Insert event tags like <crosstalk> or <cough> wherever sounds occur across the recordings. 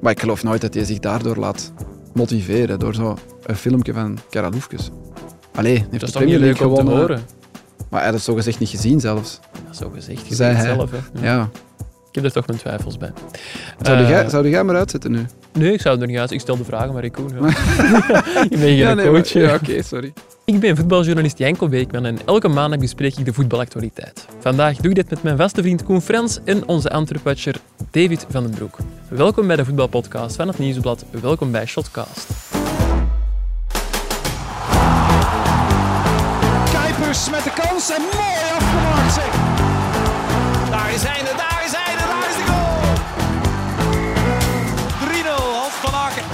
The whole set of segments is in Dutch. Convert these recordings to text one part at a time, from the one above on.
Maar ik geloof nooit dat hij zich daardoor laat motiveren door zo'n filmpje van Karaloefkes. Allee, heeft Dat is de toch niet Premier leuk League om te gewonnen. horen? Maar hij had het zogezegd niet gezien zelfs. Zo gezegd, je Zei zei het hij. zelf. Hè. Ja. Ja. Ik heb er toch mijn twijfels bij. Zou, Eh, jij, zou jij maar uitzetten nu? Nee, ik zou het er niet uit. Ik stel de vragen, maar ik Koen. <laughs> ja. Ik <laughs> ben geen ja, nee, maar- coach. hè. ja, oké, sorry. Ik ben voetbaljournalist Janko Beekman en elke maandag bespreek ik de voetbalactualiteit. Vandaag doe ik dit met mijn vaste vriend Koen Frans en onze Antwerpwatcher David van den Broek. Welkom bij de voetbalpodcast van het Nieuwsblad. Welkom bij Shotcast. Kuipers met de kans en mooi afgemaakt zeg. Daar is hij, daar is hij, daar is de goal. 3-0, Hans van Aken.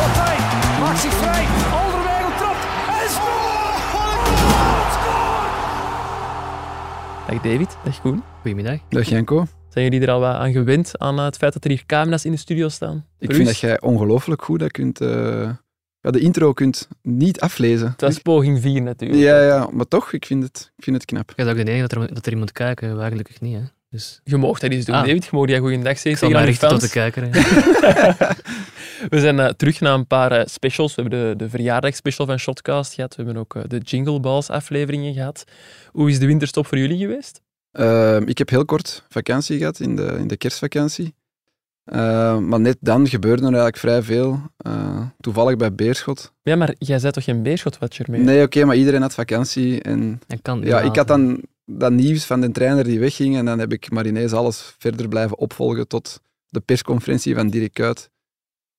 Partij, maakt zich vrij, Alderweireld trapt en scoort! Wat een goal! Scoort! Dag David, dag Koen. Goedemiddag. Dag Janko. Zijn jullie er al wat aan gewend aan eh, het feit dat er hier camera's in de studio staan? Ik Rust? vind dat jij ongelooflijk goed dat kunt, eh, ja, de intro kunt niet aflezen. Het was poging 4 natuurlijk. Ja, ja, maar toch, ik vind het, ik vind het knap. Ik was ook de enige dat er, dat er iemand kijken, waar gelukkig niet. Hè. Dus Je mocht dat eens doen, Ah. David. Je mocht jij goeiedag ik zeggen zal tegen mij aan je richten tot de fans. kijker. hè. We zijn eh, terug naar een paar eh, specials. We hebben de, de verjaardagsspecial van Shotcast gehad. We hebben ook eh, de Jingle Balls afleveringen gehad. Hoe is de winterstop voor jullie geweest? Ehm, ik heb heel kort vakantie gehad, in de, in de kerstvakantie. Ehm, maar net dan gebeurde er eigenlijk vrij veel. Eh, toevallig bij Beerschot. Ja, maar jij zei toch geen beerschotwatcher mee? Nee, oké, maar iedereen had vakantie. En Dat kan ja, ik had dan dan dat nieuws van de trainer die wegging. En dan heb ik maar ineens alles verder blijven opvolgen tot de persconferentie van Dirk Kuyt.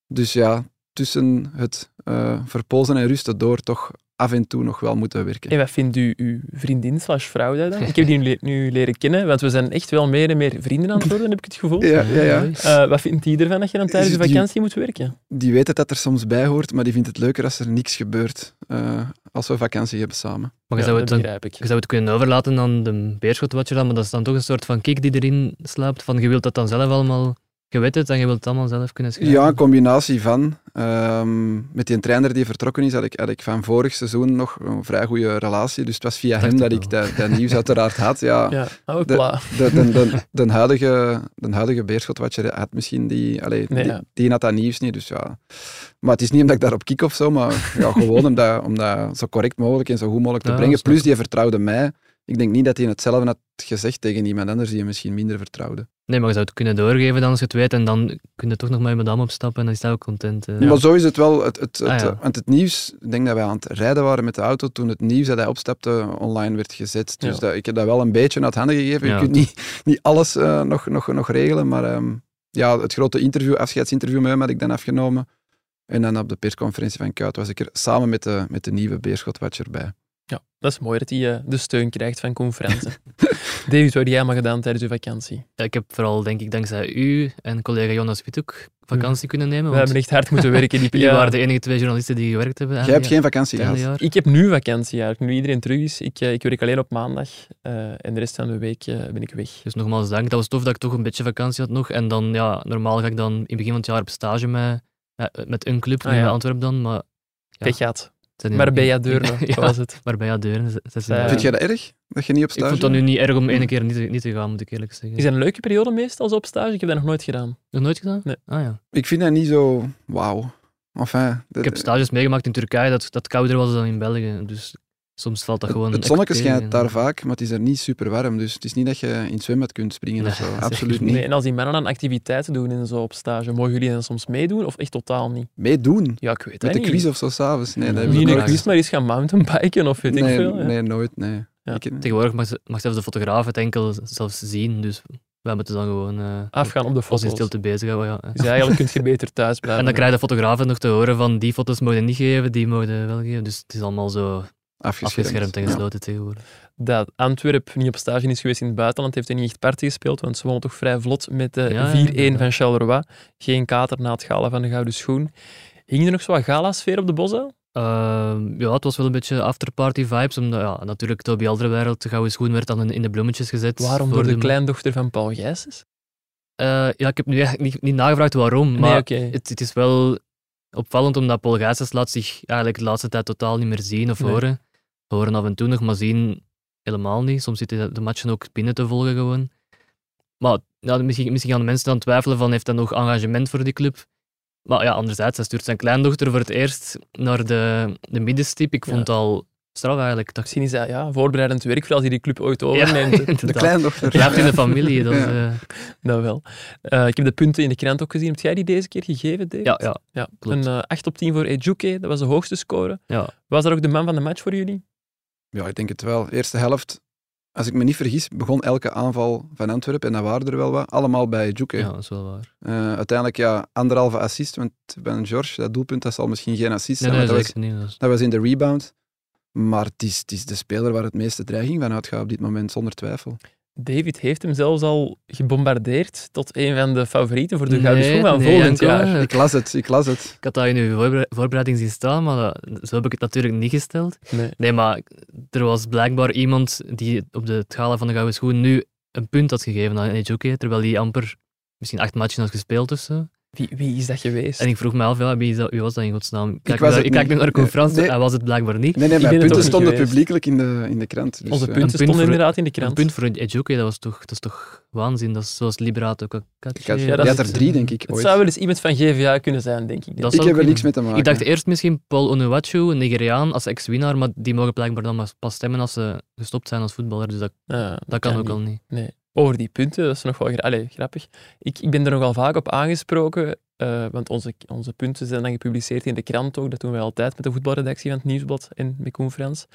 Dus ja, tussen het eh, verpozen en rusten door toch af en toe nog wel moeten werken. En wat vindt u uw vriendin slash vrouw daar dan? Ik heb die nu, le- nu leren kennen, want we zijn echt wel meer en meer vrienden aan het worden, heb ik het gevoel. Ja, ja, ja. Eh, wat vindt die ervan dat je dan tijdens Is de die- vakantie moet werken? die weet het dat er soms bij hoort, maar die vindt het leuker als er niks gebeurt eh, als we vakantie hebben samen. Maar je Ja, zou dat het dan- begrijp ik. je zou het kunnen overlaten aan de beerschotwatcher dan, maar dat is dan toch een soort van kick die erin slaapt. Van je wilt dat dan zelf allemaal, je weet het en je wilt het allemaal zelf kunnen schrijven. Ja, een combinatie van. Ehm, met die trainer die vertrokken is, had ik, had ik van vorig seizoen nog een vrij goede relatie. Dus het was via Dacht hem ik dat wel. ik dat, dat nieuws uiteraard had. Ja, Ja, Ah, hou De- klaar. De, de, de, de huidige, de huidige beerschotwatcher had misschien die, allee, Nee, die, ja. die had dat nieuws niet. Dus ja. Maar het is niet omdat ik daarop kik of zo, maar ja, gewoon om dat, om dat zo correct mogelijk en zo goed mogelijk te Ja, brengen. snap ik. Plus, die vertrouwde mij. Ik denk niet dat hij hetzelfde had gezegd tegen iemand anders die hem misschien minder vertrouwde. Nee, maar je zou het kunnen doorgeven dan als je het weet en dan kun je toch nog met madame opstappen en dan is dat ook content. eh. Maar zo is het wel. Het, het, het, Ah, ja. Want het nieuws, ik denk dat wij aan het rijden waren met de auto toen het nieuws dat hij opstapte online werd gezet. Dus Ja. dat, ik heb dat wel een beetje uit handen gegeven. Je Ja. kunt niet, niet alles eh, nog, nog, nog regelen, maar ehm, ja, het grote interview, afscheidsinterview met hem had ik dan afgenomen. En dan op de persconferentie van Kuit was ik er samen met de, met de nieuwe Beerschotwatcher bij. Ja, dat is mooi dat hij eh, de steun krijgt van conferenties. David, wat heb jij allemaal gedaan tijdens je vakantie? Ja, ik heb vooral, denk ik, dankzij u en collega Jonas Withoek vakantie kunnen nemen. Hm. We Want hebben echt hard moeten werken die <laughs> jullie periode. waren de enige twee journalisten die gewerkt hebben. Jij hebt geen vakantie gehad. jaar. Ik heb nu vakantie eigenlijk, nu iedereen terug is. Ik, eh, ik werk alleen op maandag eh, en de rest van de week eh, ben ik weg. Dus nogmaals dank. Dat was tof dat ik toch een beetje vakantie had nog. En dan, ja, normaal ga ik dan in het begin van het jaar op stage met, ja, met een club, Ah, nu ja. met Antwerpen dan. Maar, Ja. Pech gehad. het zijn in- Maar bij in- jou deurne, <laughs> Ja, dat was het. maar bij jou deuren. ze- ze zijn Ja. daar. Vind jij dat erg? Dat je niet op eh, ik stage vond dat nu niet erg om één keer niet te, niet te gaan, moet ik eerlijk zeggen. Is dat een leuke periode meestal zo op stage? Ik heb dat nog nooit gedaan. Nog nooit gedaan? Nee. Ah, ja. Ik vind dat niet zo wauw. Enfin, Ik dat- heb stages meegemaakt in Turkije dat, dat kouder was dan in België. Dus soms valt dat het, gewoon. het echt zonnetje tegen. schijnt daar vaak, maar het is er niet super warm. Dus het is niet dat je in het zwembad kunt springen of Nee, zo. <laughs> zeker Absoluut niet. niet. Nee, en als die mannen dan activiteiten doen en zo op stage, mogen jullie dan soms meedoen of echt totaal niet? Meedoen. Ja, ik weet Met dat de niet. quiz of zo s'avonds. Nee, dat Nee, heb ik Niet in een nooit. quiz, maar eens gaan mountainbiken of weet ik Nee, veel. ja. nee, nooit. Nee. Ja. Ik- Tegenwoordig mag, ze- mag zelfs de fotograaf het enkel zelfs zien. Dus wij moeten dan gewoon eh, Afgaan op de ons in foto's. stilte bezighouden. Ja. Dus eigenlijk kun je beter thuis blijven. En dan krijgen de fotografen nog te horen van die foto's mogen we niet geven, die mogen we wel geven. Dus het is allemaal zo afgeschermd. afgeschermd en Ja. gesloten tegenwoordig. dat Antwerp niet op stage is geweest in het buitenland, heeft hij niet echt party gespeeld, want ze wonnen toch vrij vlot met de Ja, ja, 4-1 van inderdaad. Charleroi. Geen kater na het gala van de Gouden Schoen. Hing er nog zo'n galasfeer op de bossen? Ehm, ja, het was wel een beetje afterparty vibes, omdat ja, natuurlijk Toby Alderweireld, de gouden schoen, werd dan in- in de bloemetjes gezet. Waarom voor door de ma- kleindochter van Paul Gijsens? Eh, ja, ik heb nu eigenlijk niet, niet nagevraagd waarom, maar nee, oké. het, het is wel opvallend omdat Paul Gijsens laat zich eigenlijk de laatste tijd totaal niet meer zien of Nee. horen. Horen af en toe nog, maar zien helemaal niet. Soms zit hij de matchen ook binnen te volgen gewoon. Maar ja, misschien, misschien gaan de mensen dan twijfelen van, heeft hij nog engagement voor die club? Maar ja, anderzijds, hij stuurt zijn kleindochter voor het eerst naar de, de middenstip. Ik Ja. vond het al straf eigenlijk. Dat, Misschien is dat ja, voorbereidend werk voor als hij die club ooit <laughs> overneemt. Ja, Oh, De inderdaad. kleindochter. Het blijft in de <laughs> familie. Dat, is, Ja. eh, Dat wel. Eh, ik heb de punten in de krant ook gezien. Heb jij die deze keer gegeven, David? ja, ja, ja klopt. Een eh, 8 op 10 voor Ejuke, dat was de hoogste score. ja. Was dat ook de man van de match voor jullie? Ja, ik denk het wel. Eerste helft, als ik me niet vergis, begon elke aanval van Antwerpen, en dat waren er wel wat, allemaal bij Djoeke. ja, dat is wel waar. Eh, uiteindelijk, ja, anderhalve assist, want Ben George, dat doelpunt, dat zal misschien geen assist Nee, zijn, nee, maar dat, was, zeker niet. Dat is- dat was in de rebound. Maar het is, het is de speler waar het meeste dreiging van uitgaat op dit moment, zonder twijfel. David heeft hem zelfs al gebombardeerd tot een van de favorieten voor de Nee, Gouden Schoen van nee, volgend Janko. jaar. Ik las het, ik las het. Ik had dat in uw voorbere- voorbereiding zien staan, maar dat- zo heb ik het natuurlijk niet gesteld. Nee. Nee, maar er was blijkbaar iemand die op de schalen van de gouden schoen nu een punt had gegeven aan Ejuke, terwijl hij amper misschien acht matchen had gespeeld of zo. Wie, wie is dat geweest? En ik vroeg me af, ja, wie, is dat, wie was dat in godsnaam? was Kijk, nu naar- het ik kijk niet. nu naar de conferentie, Nee. hij was het blijkbaar niet. Nee, nee, ben mijn het ook punten niet stonden geweest. publiekelijk in de, in de krant. Dus, Onze eh, punten punt stonden voor- inderdaad in de Een krant. punt voor Ejuke, dat, was toch- dat is toch waanzin? Dat is zoals Liberato ik had, Kakashi. Ja, dat jij is had er het, drie, denk ik, Het ooit. zou wel eens iemand van GVA kunnen zijn, denk ik. Dat Ik zou heb er kunnen. niks mee te maken. Ik dacht eerst misschien Paul Onuwachu, een Nigeriaan, als ex-winnaar, maar die mogen blijkbaar dan maar pas stemmen als ze gestopt zijn als voetballer, dus dat, Ah, dat kan ook niet. al niet. Over die punten, dat is nog wel gra- allee, grappig. Ik, ik ben er nogal vaak op aangesproken, eh, want onze, onze punten zijn dan gepubliceerd in de krant ook. Dat doen wij altijd met de voetbalredactie van het Nieuwsblad en met Koen Frans.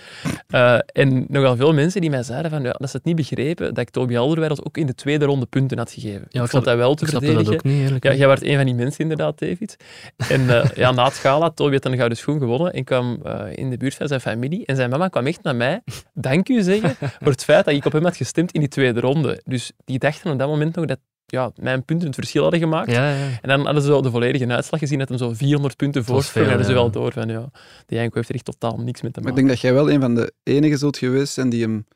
Eh, en nogal veel mensen die mij zeiden van, ja, dat ze het niet begrepen dat ik Toby Alderweireld ook in de tweede ronde punten had gegeven. ik, ik vond snap- dat wel te Ik snap verdedigen. dat ook niet, eerlijk. Ja, jij werd een van die mensen inderdaad, David. En eh, ja, na het gala, Toby had een gouden schoen gewonnen en kwam eh, in de buurt van zijn familie. En zijn mama kwam echt naar mij dank u zeggen voor het feit dat ik op hem had gestemd in die tweede ronde. Dus die dachten op dat moment nog dat ja, mijn punten het verschil hadden gemaakt. ja, ja. En dan hadden ze zo de volledige uitslag gezien, dat hem zo 400 punten was voorsprong. En veel, hadden ze ja. wel door van, ja, die Janko heeft er echt totaal niks mee te Maar ik maken. denk dat jij wel een van de enigen zult geweest zijn die hem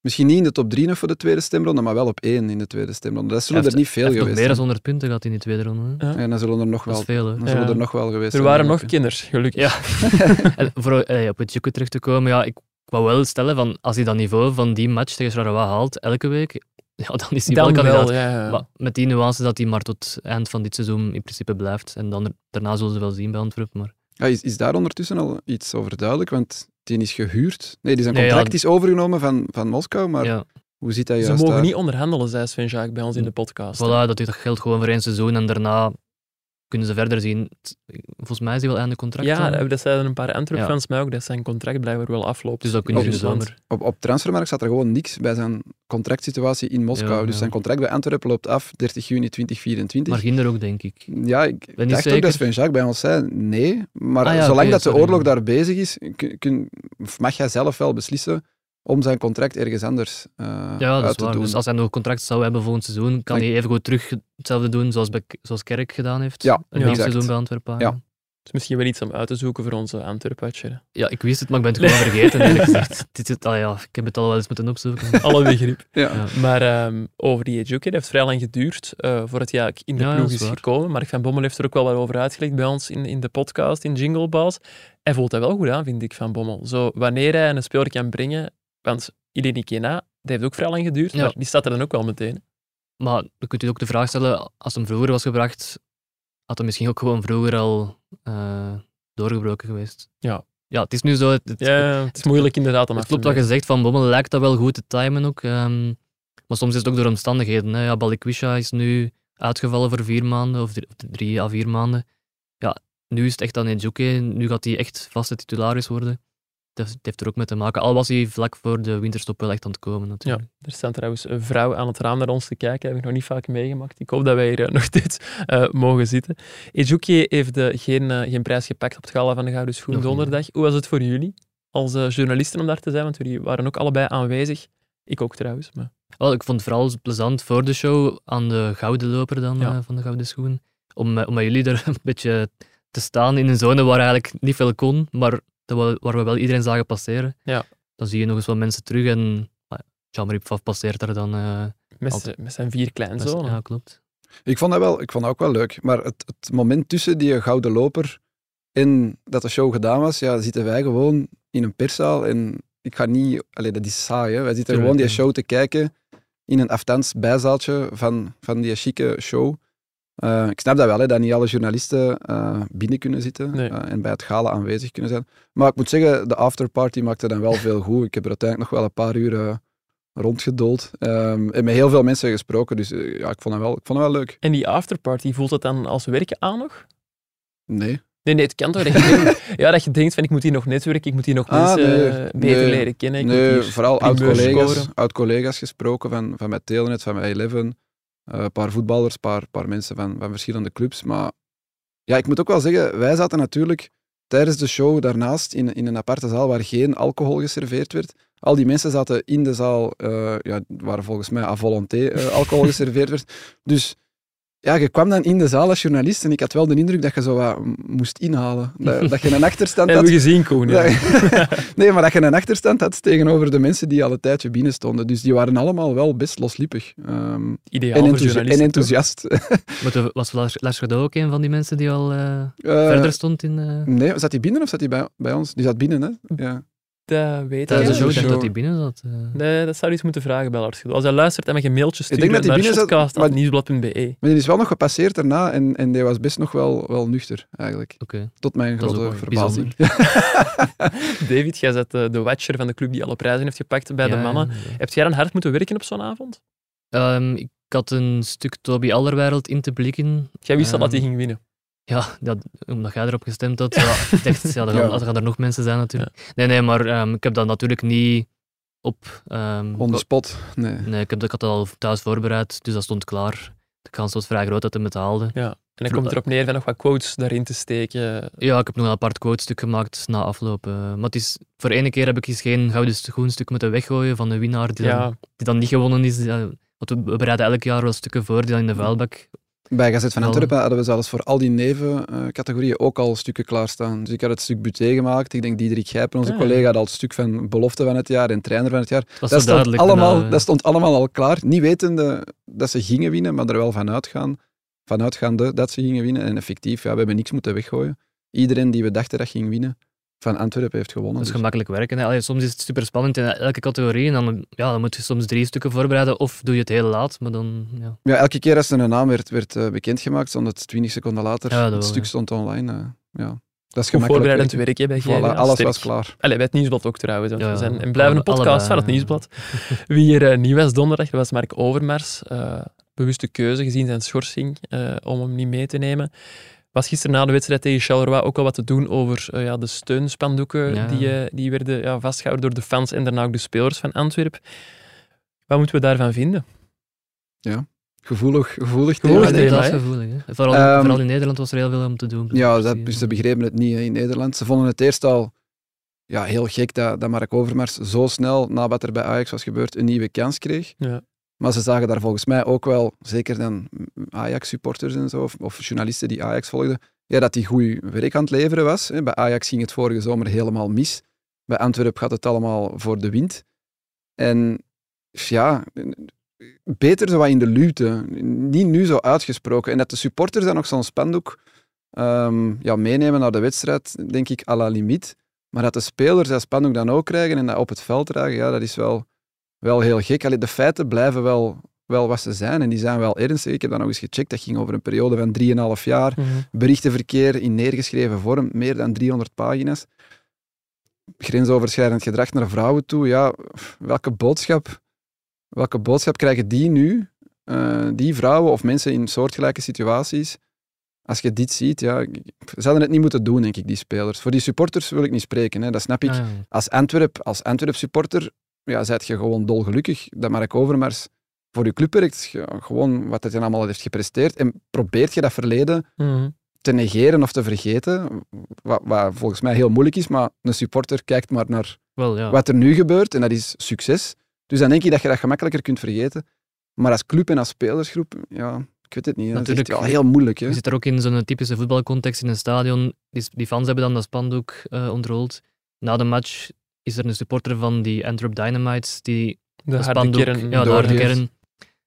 misschien niet in de top 3 nog voor de tweede stemronde, maar wel op één in de tweede stemronde. Dat zullen Hij er niet veel Hij heeft nog geweest meer zijn. dan 100 punten gehad in die tweede ronde. hè. dan- En dan zullen er nog Dat wel, is veel, <laughs> hoor. dan zullen Ja. er nog wel geweest er zijn. waren nog denk ik. kinders, <laughs> gelukkig. Ja. En voor eh, op het Juku terug te komen, ja, ik wou wel stellen, van, als hij dat niveau van die match tegen Sarawak haalt, elke week, <laughs> ja, dan is hij wel Dan kandidaat. wel, ja. ja. Maar met die nuance dat hij maar tot eind van dit seizoen in principe blijft. En dan, daarna zullen ze wel zien bij Antwerpen. Maar Ja, is, is daar ondertussen al iets over duidelijk? Want die is gehuurd. Nee, die zijn Nee, ja. contract is overgenomen van, van Moskou, maar ja, hoe zit dat Ze juist mogen daar? niet onderhandelen, zei Sven Jacques bij ons in de podcast. Hm. voilà, dat, dat geldt gewoon voor één seizoen. En daarna kunnen ze verder zien. Het- Volgens mij is hij wel einde contract. dan. Ja, eh, dat zeiden een paar Antwerp-fans mij ook, dat zijn contract blijkbaar wel afloopt. Dus dat kunnen ze in de Rusland. zomer. Op, op transfermarkt staat er gewoon niks bij zijn contractsituatie in Moskou. Ja, dus ja. zijn contract bij Antwerpen loopt af 30 juni 2024. maar Ginder ook, denk ik. Ja, ik Ben niet dacht ook zeker. dat Sven-Jacques bij ons zei nee. Maar Ah ja, zolang oké, dat de sorry. oorlog daar bezig is, kun- kun- of mag hij zelf wel beslissen om zijn contract ergens anders eh, Ja, dat uit is te waar. doen. Dus als hij nog een contract zou hebben volgend seizoen, kan Ik- hij even goed terug hetzelffde doen zoals, bij, zoals Kerk gedaan heeft. Ja, een ja, nieuw exact. seizoen bij Antwerpen. Ja. is misschien wel iets om uit te zoeken voor onze Antwerp-watcher. Ja, ik wist het, maar ik ben het gewoon vergeten. <laughs> eerlijk gezegd. Dit is, ah ja, ik heb het al wel eens moeten <laughs> opzoeken. Alle begrip. Ja. Ja. <laughs> Maar ehm, over die Ejuke, dat heeft vrij lang geduurd eh, voordat hij eigenlijk in de Ja, ploeg dat is is waar. gekomen. Mark van Bommel heeft er ook wel wat over uitgelegd bij ons in, in de podcast, in Jingle Balls. Hij voelt dat wel goed aan, vind ik, van Bommel. Zo, wanneer hij een speler kan brengen, want Ileni Kena, dat heeft ook vrij lang geduurd, Ja. maar die staat er dan ook wel meteen. Maar dan kunt u ook de vraag stellen, als hem vroeger was gebracht, had hij misschien ook gewoon vroeger al eh, doorgebroken geweest. Ja. Ja, het is nu zo. Het, het, Ja, het is moeilijk inderdaad om het af te klopt wat je zegt, Van Bommel lijkt dat wel goed te timen ook. ehm, maar soms is het ook door omstandigheden. Hè. Ja, Balikwisha is nu uitgevallen voor vier maanden, of drie, of drie à vier maanden. Ja, nu is het echt aan Ejuke, nu gaat hij echt vaste titularis worden. Dat het heeft er ook mee te maken. Al was hij vlak voor de winterstop wel echt aan het komen natuurlijk. Er staat trouwens een vrouw aan het raam naar ons te kijken. Dat heb ik nog niet vaak meegemaakt. Ik hoop dat wij hier eh, <laughs> nog steeds eh, mogen zitten. Ejuke heeft eh, geen, eh, geen prijs gepakt op het gala van de Gouden Schoen Nog niet, donderdag. Hoe was het voor jullie als eh, journalisten om daar te zijn? Want jullie waren ook allebei aanwezig. Ik ook trouwens. Maar... Wel, ik vond het vooral plezant voor de show aan de gouden loper dan, Ja. eh, van de gouden schoen. Om, eh, om met jullie er <laughs> een beetje te staan in een zone waar eigenlijk niet veel kon, maar dat we- waar we wel iedereen zagen passeren. Ja. Dan zie je nog eens wat mensen terug en ah, Jean-Marie Pfaff passeert daar dan. eh, Met, Altijd. z'n- met zijn vier best- kleinzonen. Ja, klopt. Ik vond dat wel, ik vond dat ook wel leuk. Maar het, het moment tussen die gouden loper en dat de show gedaan was, ja, zitten wij gewoon in een perszaal en ik ga niet... Allee, dat is saai, hè. Wij zitten Tuurlijk, gewoon die ja. show te kijken in een aftans bijzaaltje van, van die chique show. Eh, ik snap dat wel, hè, dat niet alle journalisten eh, binnen kunnen zitten Nee. eh, en bij het gala aanwezig kunnen zijn. Maar ik moet zeggen, de afterparty maakte dan wel veel goed. Ik heb er uiteindelijk nog wel een paar uur eh, rondgedold ehm, en met heel veel mensen gesproken. Dus eh, ja, ik vond het wel, ik vond het wel leuk. En die afterparty, voelt dat dan als werken aan nog? Nee. Nee, nee, het kan toch? Dat je <laughs> denkt, ja, dat je denkt van ik moet hier nog netwerken, ik moet hier nog Ah, mensen nee. eh, beter Nee. leren kennen. Ik nee, moet hier vooral primeurs oud-collega's scoren. oud-collega's gesproken van, van mijn Telenet, van mijn Eleven. eh, Een paar voetballers, een paar, paar mensen van, van verschillende clubs. Maar ja, ik moet ook wel zeggen, wij zaten natuurlijk tijdens de show daarnaast in, in een aparte zaal waar geen alcohol geserveerd werd. Al die mensen zaten in de zaal eh, ja, waar volgens mij à volonté eh, <laughs> alcohol geserveerd werd. Dus ja, je kwam dan in de zaal als journalist en ik had wel de indruk dat je zo wat moest inhalen. Dat, dat je <laughs> een achterstand had. hebben we gezien, Koen. ja. Ja. <laughs> nee, maar dat je een achterstand had tegenover de mensen die al een tijdje binnen stonden. Dus die waren allemaal wel best losliepig. Ehm, Ideaal en, voor enthousi- journalisten. en enthousiast. <laughs> Eh, Maar toen was Lars, Lars Godot ook een van die mensen die al eh, Eh, verder stond in... eh Nee, zat hij binnen of zat hij bij, bij ons? Die zat binnen, hè? Ja. Dat weet tijdens ik de show, niet. ik denk show. dat hij binnen zat. eh. Nee, dat zou je eens moeten vragen bij Lars. Goedel. Als hij luistert en met een mailtje denk stuurt naar dat hij binnen zat, maar- podcast.nieuwsblad.be. Maar die is wel nog gepasseerd daarna en, en die was best nog wel, wel nuchter, eigenlijk. Oké, Tot mijn dat is grote ook wel verbazing. <laughs> bijzonder. David, jij bent eh, de watcher van de club die alle prijzen heeft gepakt bij de Ja, mannen. ja, ja. Heb jij dan hard moeten werken op zo'n avond? Ehm, ik had een stuk Toby Allerwereld in te blikken. Jij wist al dat hij Ehm, ging winnen. Ja, dat, omdat jij erop gestemd had. Ja, ik dacht, ja, er, gaan, Ja. er gaan er nog mensen zijn natuurlijk. Nee, nee, maar ehm, ik heb dat natuurlijk niet op... ehm, On the spot. Nee. nee, ik, heb, ik had dat al thuis voorbereid, dus dat stond klaar. De kans was vrij groot dat hij het haalde. En dan komt het erop neer van nog wat quotes daarin te steken. Ja, ik heb nog een apart quotestuk gemaakt na afloop. eh, maar het is, voor ene keer heb ik eens geen gouden schoenstuk moeten weggooien van de winnaar die, dan, Ja, die dan niet gewonnen is. Ja, want we bereiden elk jaar wel stukken voor die dan in de vuilbak Bij Gazet van Wel. Antwerpen hadden we zelfs voor al die nevencategorieën ook al stukken klaarstaan. Dus ik had het stuk Buté gemaakt. Ik denk Diederik Gijpen, onze Ah. collega, had al het stuk van Belofte van het jaar en Trainer van het jaar. was Dat zo stond, duidelijk. allemaal, eh, dat stond allemaal al klaar. Niet wetende dat ze gingen winnen, maar er wel van uitgaan, vanuitgaande dat ze gingen winnen. En effectief, ja, we hebben niks moeten weggooien. Iedereen die we dachten dat ging winnen, van Antwerpen heeft gewonnen. dat is Dus- gemakkelijk werken. hè. Allee, soms is het super spannend in elke categorie. En dan, ja, dan moet je soms drie stukken voorbereiden. Of doe je het heel laat. Maar dan, ja. ja, elke keer als er een naam werd, werd eh, bekendgemaakt, stond het 20 seconden later. Ja, dat het wel, stuk ja. stond online. eh, ja. Dat is goed gemakkelijk. voorbereidend werken. werk hè, bij Voilà, GVA. alles Sterk. was klaar. Allee, bij het nieuwsblad ook trouwens. want Ja, we zijn en alle- blijven een podcast allebei, van het ja. nieuwsblad. Wie hier eh, nieuw was donderdag, dat was Mark Overmars. Eh, bewuste keuze gezien zijn schorsing eh, om hem niet mee te nemen. Was gisteren na de wedstrijd tegen Charleroi ook al wat te doen over eh, ja, de steunspandoeken Ja. die, eh, die werden ja, vastgehouden door de fans en daarna ook de spelers van Antwerpen. Wat moeten we daarvan vinden? Gevoelig, gevoelig, Gevoelig thema, thema, denk ik. dat is hè? gevoelig. hè. Vooral, Ehm, vooral in Nederland was er heel veel om te doen. Ja, dat, Precies, dus ja. ze begrepen het niet hè, in Nederland. Ze vonden het eerst al ja, heel gek dat, dat Mark Overmars zo snel, na wat er bij Ajax was gebeurd, een nieuwe kans kreeg. Ja. Maar ze zagen daar volgens mij ook wel, zeker dan Ajax-supporters en zo, of, of journalisten die Ajax volgden, ja, dat hij goed werk aan het leveren was. hè. Bij Ajax ging het vorige zomer helemaal mis. Bij Antwerpen gaat het allemaal voor de wind. En ja, beter zo wat in de luwte. Niet nu zo uitgesproken. En dat de supporters dan nog zo'n spandoek ehm, ja, meenemen naar de wedstrijd, denk ik, à la limiet. Maar dat de spelers dat spandoek dan ook krijgen en dat op het veld dragen, ja, dat is wel, wel heel gek. Allee, de feiten blijven wel, wel wat ze zijn en die zijn wel ernstig. Ik heb dat nog eens gecheckt. Dat ging over een periode van 3,5 jaar berichtenverkeer in neergeschreven vorm, meer dan 300 pagina's. Grensoverschrijdend gedrag naar vrouwen toe, ja, welke boodschap, welke boodschap krijgen die nu, eh, die vrouwen of mensen in soortgelijke situaties? Als je dit ziet, ja, ik- ze hadden het niet moeten doen, denk ik, die spelers. Voor die supporters wil ik niet spreken, hè, dat snap ik Ah, ja. als Antwerp, als Antwerp supporter, ja, zijt je gewoon dolgelukkig dat Mark Overmars voor je club werkt. Ja, gewoon wat hij allemaal heeft gepresteerd. En probeert je dat verleden Mhm. te negeren of te vergeten, wat, wat volgens mij heel moeilijk is, maar een supporter kijkt maar naar Wel, ja. wat er nu gebeurt en dat is succes. Dus dan denk je dat je dat gemakkelijker kunt vergeten. Maar als club en als spelersgroep, ja, ik weet het niet. hè. Dat is echt Natuurlijk. wel heel moeilijk. Hè? Je zit er ook in zo'n typische voetbalcontext in een stadion. Die, die fans hebben dan dat spandoek eh, ontrold. Na de match is er een supporter van die Antwerp Dynamites die De dat harde spandoek, kern. ja, de harde doorgeeft. kern,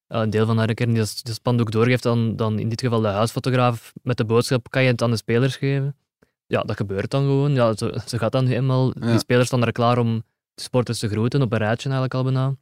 eh, een deel van de harde kern die dat, dat spandoek doorgeeft aan dan in dit geval de huisfotograaf met de boodschap, kan je het aan de spelers geven? Ja, dat gebeurt dan gewoon. Ja, zo, zo gaat dan helemaal. Ja. dus Die spelers staan daar klaar om de sporters te groeten, op een rijtje eigenlijk al bijna.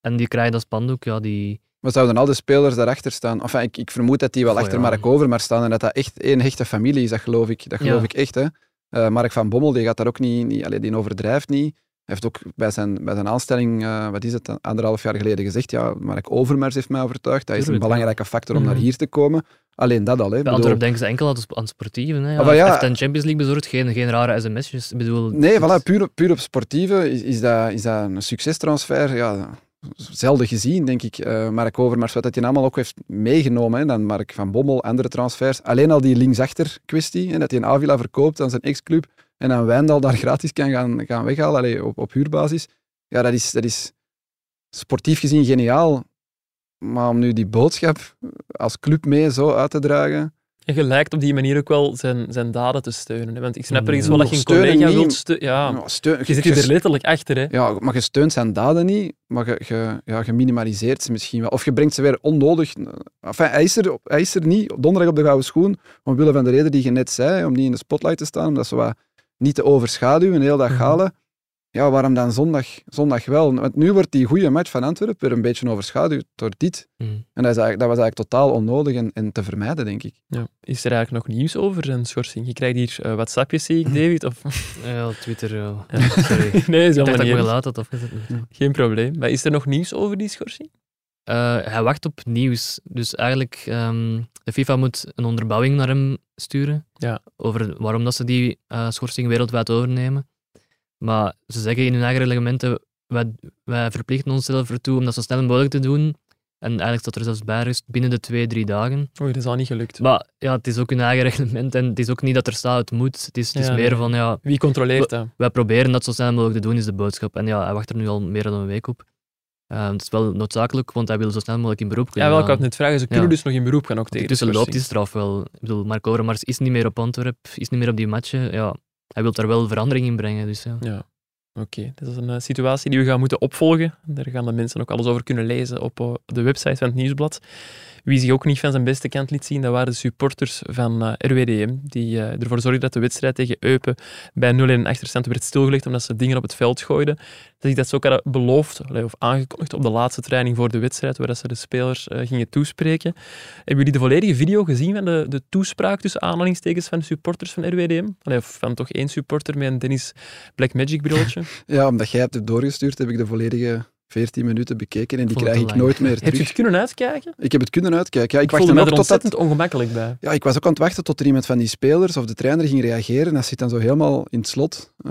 En die krijgen dat spandoek, ja, die... Maar zouden al de spelers daarachter staan? Enfin, ik, ik vermoed dat die wel Oh, achter ja. Mark Overmars staan en dat dat echt één hechte familie is, dat geloof ik, dat geloof Ja. ik echt. Hè. Eh, Mark van Bommel die gaat daar ook niet, niet allee, die overdrijft niet. Hij heeft ook bij zijn, bij zijn aanstelling, eh, wat is het, een- anderhalf jaar geleden gezegd, ja, Mark Overmars heeft mij overtuigd, dat is een Tuurlijk, ja. belangrijke factor om Mhm. naar hier te komen. Alleen dat al, hè. Ik Bij bedoel- Antwerp denken ze enkel aan het- aan het sportieve. Hè. Ja, Ah, maar ja. Hij heeft een Champions League bezorgd, geen, geen rare sms'jes. Ik bedoel, Nee, het- voilà, puur, op- puur op sportieve is, is, dat, is dat een succestransfer. Ja, zelden gezien, denk ik. Eh Mark Overmars, wat dat hij allemaal ook heeft meegenomen. Hè, dan Mark van Bommel, andere transfers. Alleen al die linksachter-kwestie, hè, dat hij een Avila verkoopt aan zijn ex-club en dan Wijndal daar gratis kan gaan, gaan weghalen allee, op, op huurbasis. Ja, dat is, dat is sportief gezien geniaal. Maar om nu die boodschap als club mee zo uit te dragen... En je lijkt op die manier ook wel zijn, zijn daden te steunen. hè. Want ik snap Mm. ergens wel dat je een Steunen collega niet. wilt steunen. Ja, nou, steun- je zit je er letterlijk achter, hè. Ja, maar je steunt zijn daden niet, maar je, je, ja, je minimaliseert ze misschien wel. Of je brengt ze weer onnodig. Enfin, hij, is er, hij is er niet op donderdag op de gouden schoen, omwille van de reden die je net zei, om niet in de spotlight te staan, om dat zo wat niet te overschaduwen, heel dat Mhm. galen. Ja, waarom dan zondag, zondag wel? Want nu wordt die goede match van Antwerpen weer een beetje overschaduwd door dit. Mhm. Mm. En dat, is eigenlijk, dat was eigenlijk totaal onnodig en, en te vermijden, denk ik. Ja. Is er eigenlijk nog nieuws over zijn schorsing? Je krijgt hier eh, WhatsAppjes, zie ik, David. <laughs> Of... Ja, Twitter, ja. <laughs> Ja. Sorry. ik Nee, is helemaal dacht dat ik niet me erg. laat had afgezet. Geen probleem. Maar is er nog nieuws over die schorsing? Eh, hij wacht op nieuws. Dus eigenlijk, ehm, de FIFA moet een onderbouwing naar hem sturen. Ja. Over waarom dat ze die eh, schorsing wereldwijd overnemen. Maar ze zeggen in hun eigen reglementen, wij, wij verplichten onszelf ertoe om dat zo snel mogelijk te doen. En eigenlijk staat er zelfs bij rust binnen de twee, drie dagen. Oei, dat is al niet gelukt. Maar ja, het is ook hun eigen <laughs> reglement en het is ook niet dat er staat het moet. Het is, het is Ja, meer nee. van, ja, Wie controleert dat? wij proberen dat zo snel mogelijk te doen, is de boodschap. En ja, hij wacht er nu al meer dan een week op. Ehm, het is wel noodzakelijk, want hij wil zo snel mogelijk in beroep Ja, kunnen wel, ik gaan. had net vragen. Ze kunnen Ja. dus nog in beroep gaan ook tegen de Tussen loopt die schorsing. straf wel. Ik bedoel, Marco Overmars is niet meer op Antwerp, is niet meer op die matchen. Ja, hij wil daar wel verandering in brengen. Dus ja. Ja. Oké, dat is een eh, situatie die we gaan moeten opvolgen. Daar gaan de mensen ook alles over kunnen lezen op eh, de website van het Nieuwsblad. Wie zich ook niet van zijn beste kant liet zien, dat waren de supporters van eh, RWDM, die eh, ervoor zorgden dat de wedstrijd tegen Eupen bij 0-1 achterstand werd stilgelegd, omdat ze dingen op het veld gooiden. Dat ik dat ze ook hadden beloofd, allee, of aangekondigd, op de laatste training voor de wedstrijd, waar dat ze de spelers eh, gingen toespreken. Hebben jullie de volledige video gezien van de, de toespraak tussen aanhalingstekens van de supporters van RWDM? Allee, of van toch één supporter met een Dennis Blackmagic <laughs> broodje? Ja, omdat jij het hebt doorgestuurd, heb ik de volledige 14 minuten bekeken en die Vond het krijg te ik lang. nooit meer Heb je het terug. kunnen uitkijken? Ik heb het kunnen uitkijken. Ja, ik Ik wachtte voelde me nog er totdat ontzettend ongemakkelijk bij. Ja, ik was ook aan het wachten tot er iemand van die spelers of de trainer ging reageren. Dat zit dan zo helemaal in het slot. Eh,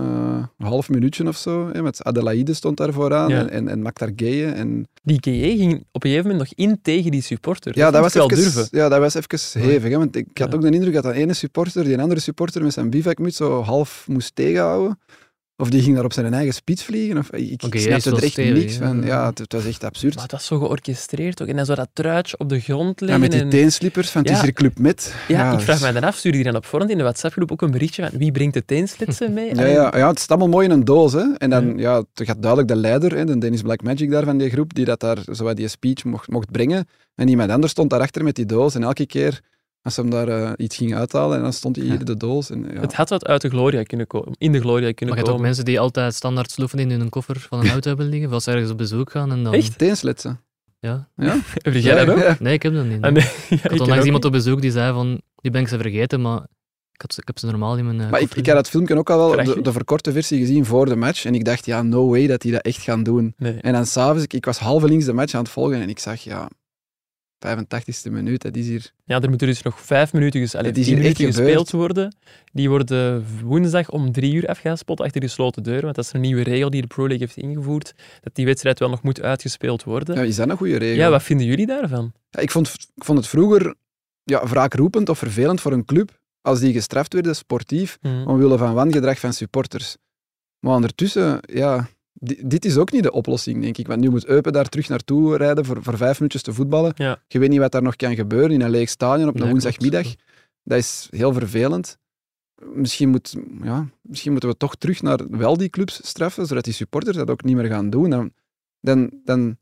een half minuutje of zo. Hè, met Adelaide stond daar vooraan Ja. en, en, en Maktar Gueye En, Die KE ging op een gegeven moment nog in tegen die supporter. ja, dat was wel even, durven. Ja, dat was even Mooi. hevig. Hè, want ik had Ja. ook de indruk dat de ene supporter die een andere supporter met zijn bivakmuts zo half moest tegenhouden. Of die ging daar op zijn eigen spits vliegen. Of, ik ik Oké, jij is snapte wel er echt stevig, niks hè. van. Ja, het, het was echt absurd. Maar het was zo georchestreerd ook. En dan zo dat truitje op de grond Ja, liggen. met die en- teenslippers van het Ja. is hier Club Met. ja, ik dus- vraag mij dan af, stuurde die dan op voorhand in de WhatsApp-groep ook een berichtje van wie brengt de <laughs> teenslitsen mee? Ja, Allee, ja, ja, het staat allemaal mooi in een doos. Hè. En dan ja, het gaat duidelijk de leider, hè, de Dennis Blackmagic daar van die groep, die dat daar zo wat die speech mocht, mocht brengen. En iemand anders stond daarachter met die doos. En elke keer als ze hem daar eh, iets ging uithalen, en dan stond hij hier de doos. En, ja. Het had wat uit de Gloria kunnen komen. In de Gloria kunnen Maar <laughs> je hebt ook komen. mensen die altijd standaard sloeven in hun koffer <laughs> van een auto hebben liggen, of als ze ergens op bezoek gaan. En dan, Echt? Teenslitsen. Ja. <laughs> Heb jij dat ook? Ja. Nee, ik heb dat niet. Ah, nee, ik had onlangs iemand op bezoek die zei van, die ben ik ze vergeten, maar ik, had ze- ik heb ze normaal in mijn eh, Maar ik, koffer. ik had dat filmpje ook al wel, Vraag je? de, de verkorte versie gezien voor de match. En ik dacht, ja, no way dat die dat echt gaan doen. Nee. En dan s'avonds, ik, ik was halverlinks de match aan het volgen en ik zag, ja, 85e minuut, dat is hier... Ja, er moeten dus nog vijf minuten, ges- allee, Het is tien hier echt minuten gespeeld gebeurd. worden. Die worden woensdag om drie uur afgespot achter gesloten deuren. Want dat is een nieuwe regel die de Pro League heeft ingevoerd. Dat die wedstrijd wel nog moet uitgespeeld worden. Ja, Ja, is dat een goede regel? wat vinden jullie daarvan? Ja, ik, vond, ik vond het vroeger ja, wraakroepend of vervelend voor een club als die gestraft werden sportief Hm. omwille van wangedrag van supporters. Maar ondertussen, ja, di- dit is ook niet de oplossing, denk ik. Want nu moet Eupen daar terug naartoe rijden voor, voor vijf minuutjes te voetballen. Ja. Je weet niet wat daar nog kan gebeuren in een leeg stadion op een Nee, woensdagmiddag. klopt. Dat is heel vervelend. Misschien, moet, ja, misschien moeten we toch terug naar wel die clubs straffen, zodat die supporters dat ook niet meer gaan doen. Dan, dan, dan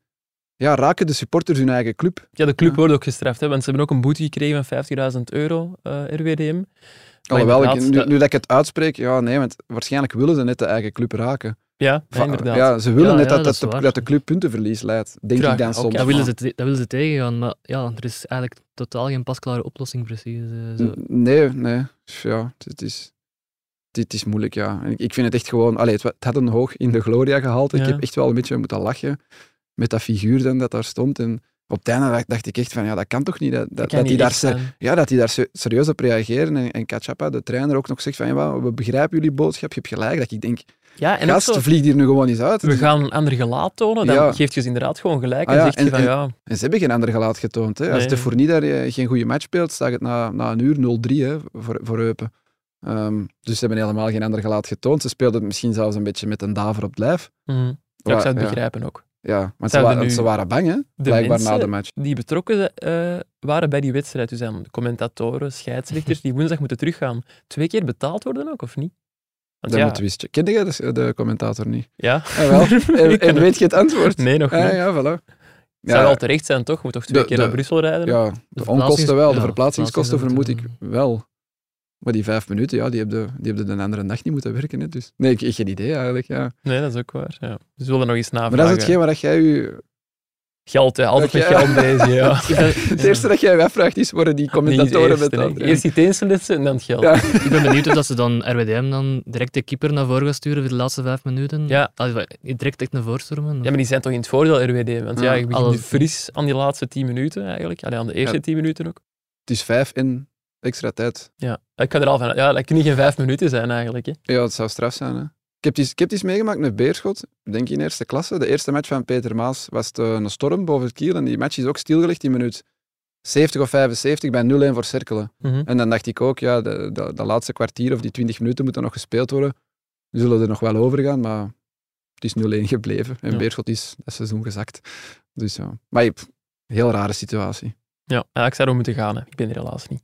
ja, raken de supporters hun eigen club. Ja, de club Ja. wordt ook gestraft. Hè, want ze hebben ook een boete gekregen van 50.000 euro, eh, RWDM. Maar Alhoewel, Oh, ik, inderdaad, nu, dat- nu dat ik het uitspreek, ja, nee, want waarschijnlijk willen ze net de eigen club raken. Ja, ja, Va- inderdaad. Ja, ze willen Ja, net dat, ja, dat dat, is de, waar. dat de club puntenverlies leidt, denk Graag, ik dan oké. soms. dat, willen ze, te- dat willen ze tegengaan, maar ja, er is eigenlijk totaal geen pasklare oplossing precies. eh, zo. N- Nee, nee. Ja, het is, dit is moeilijk, ja. En Ik, ik vind het echt gewoon... Allee, het, wa- het had een hoog in de gloria gehaald. Ik Ja. heb echt wel een beetje moeten lachen met dat figuur dan dat daar stond. En op het einde dacht, dacht ik echt van, ja, dat kan toch niet? Dat, dat, Dat dat, kan niet die daar echt ser- zijn. ja, dat die daar se- serieus op reageren. En, en Kachapa, de trainer, ook nog zegt van, ja, we begrijpen jullie boodschap, je hebt gelijk. Dat ik denk, Ja, en ook gast, zo, vlieg hier nu gewoon eens uit. we gaan een ander gelaat tonen, dan Ja. geeft je ze inderdaad gewoon gelijk en Ah ja, zegt je en- van en- ja, En ze hebben geen ander gelaat getoond. Hè. Als Nee. de Fournier daar eh, geen goede match speelt, staat het na, na een uur 0-3 hè, voor, voor Eupen. Ehm, dus ze hebben helemaal geen ander gelaat getoond. Ze speelden het misschien zelfs een beetje met een daver op het lijf. mhm. Ja, ik zou het Ja. begrijpen ook. Ja, want ze, Zouden wa- nu ze waren bang, hè? De blijkbaar na mensen de match. die betrokken eh, waren bij die wedstrijd, dus aan commentatoren, scheidsrechters, die woensdag moeten teruggaan, twee keer betaald worden ook, of niet? Want Dat ja, moet wist je. Kende jij de, de commentator <laughs> niet? ja. Ah, wel. en, Ik en ken weet je het antwoord? Nee, nog niet. Ah, ja, voilà. Het zou wel Ja, terecht zijn, toch? Moet toch twee De- keer de- naar Brussel rijden? ja, de verplaatsings- onkosten wel, de ja, verplaatsingskosten vermoed ik verplaatsingen wel. Maar die vijf minuten, ja, die hebben de, die hebben de andere dag niet moeten werken. Hè, dus. Nee, ik ik geen idee eigenlijk. Ja. Nee, dat is ook waar. Ja. Dus we willen nog eens navragen. Maar dat is hetgeen waar dat jij je Geld, hè. altijd Dat met jij- geld bezig. <laughs> Ja. Ik ben- Het eerste dat jij wegvraagt is, worden <laughs> die Niet commentatoren eerst, met hè. dat? Eerst die teenslissen en dan het geld. Ja. <laughs> Ik ben benieuwd of dat ze dan RWDM dan direct de keeper naar voren gaan sturen voor de laatste vijf minuten. Ja. Ah, wa- direct echt naar voren stormen. Ja, maar die zijn toch in het voordeel, RWD? Want ja, Ja, je begint alles- fris aan die laatste tien minuten eigenlijk. Allee, aan de eerste Ja. tien minuten ook. Het is vijf in extra tijd. Ja. Ik kan er al van uit- Ja, dat kan niet geen vijf minuten zijn eigenlijk. Hè. Ja, dat zou straf zijn. Hè. Ik heb het eens- ik heb het eens meegemaakt met Beerschot, denk ik in eerste klasse. De eerste match van Peter Maas was het, eh, een storm boven het kiel en die match is ook stilgelegd in minuut 70 of 75 bij 0-1 voor Cerkelen. Mhm. En dan dacht ik ook, ja, de- de- dat laatste kwartier of die 20 minuten moeten nog gespeeld worden. Die zullen er nog wel over gaan, maar het is 0-1 gebleven. En Ja. Beerschot is dat seizoen gezakt. Dus ja. Maar je- pff, heel rare situatie. Ja, ja, ik zou er moeten gaan. Hè. Ik ben er helaas niet.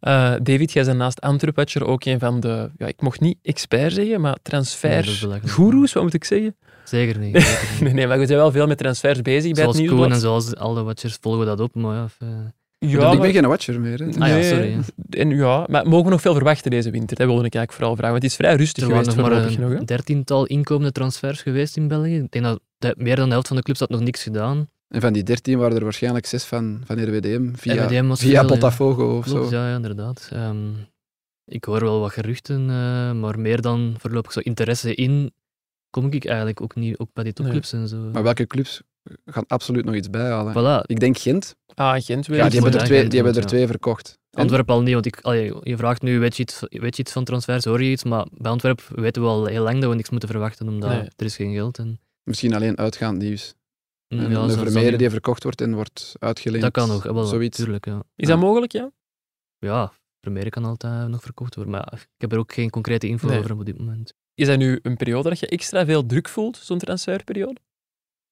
Eh, David, jij bent naast Antwerpatcher ook een van de... Ja, ik mocht niet expert zeggen, maar Nee, dat is belachelijk. transfergoeroes, wat moet ik zeggen? <laughs> Zeker niet. zeker niet. Nee, nee, maar we zijn wel veel met transfers bezig bij zoals het Koen nieuwsblad. en zoals alle watchers volgen we dat op. Maar ja, of, eh, Ja, ik maar- ben geen watcher meer. Hè. Ah ja, sorry, En ja, maar mogen we nog veel verwachten deze winter? Dat wilde ik eigenlijk vooral vragen. Want het is vrij rustig er waren geweest nog maar eh, voorlopig nog. Hè? een dertiental inkomende transfers geweest in België. Ik denk dat de- meer dan de helft van de clubs had nog niks gedaan. En van die 13 waren er waarschijnlijk zes van, van RWDM via, RWDM was via veel, ja. Botafogo of Klopt, zo. ja, ja, inderdaad. Ehm, ik hoor wel wat geruchten, eh, maar meer dan voorlopig zo interesse in kom ik eigenlijk ook niet, ook bij die topclubs en zo. Maar welke clubs gaan absoluut nog iets bijhalen? Voilà, Ik denk Gent. Ah, Gent weer. Ja, die hebben er Ja, twee, Gent die hebben moet, er ja. twee verkocht. En- Antwerpen al niet, want ik, allee, je vraagt nu, weet je, iets, weet je iets van transfers, hoor je iets, maar bij Antwerpen weten we al heel lang dat we niks moeten verwachten, omdat Nee. er is geen geld. En, Misschien alleen uitgaand nieuws. Mm, En ja, een zo- Vermeer zo- die verkocht wordt en wordt uitgeleend. dat kan nog, eh, wel, Zoiets. tuurlijk. Ja. Is dat mogelijk, ja? ja, Vermeer kan altijd nog verkocht worden, maar ja, ik heb er ook geen concrete info Nee. over op dit moment. Is dat nu een periode dat je extra veel druk voelt, zo'n transferperiode?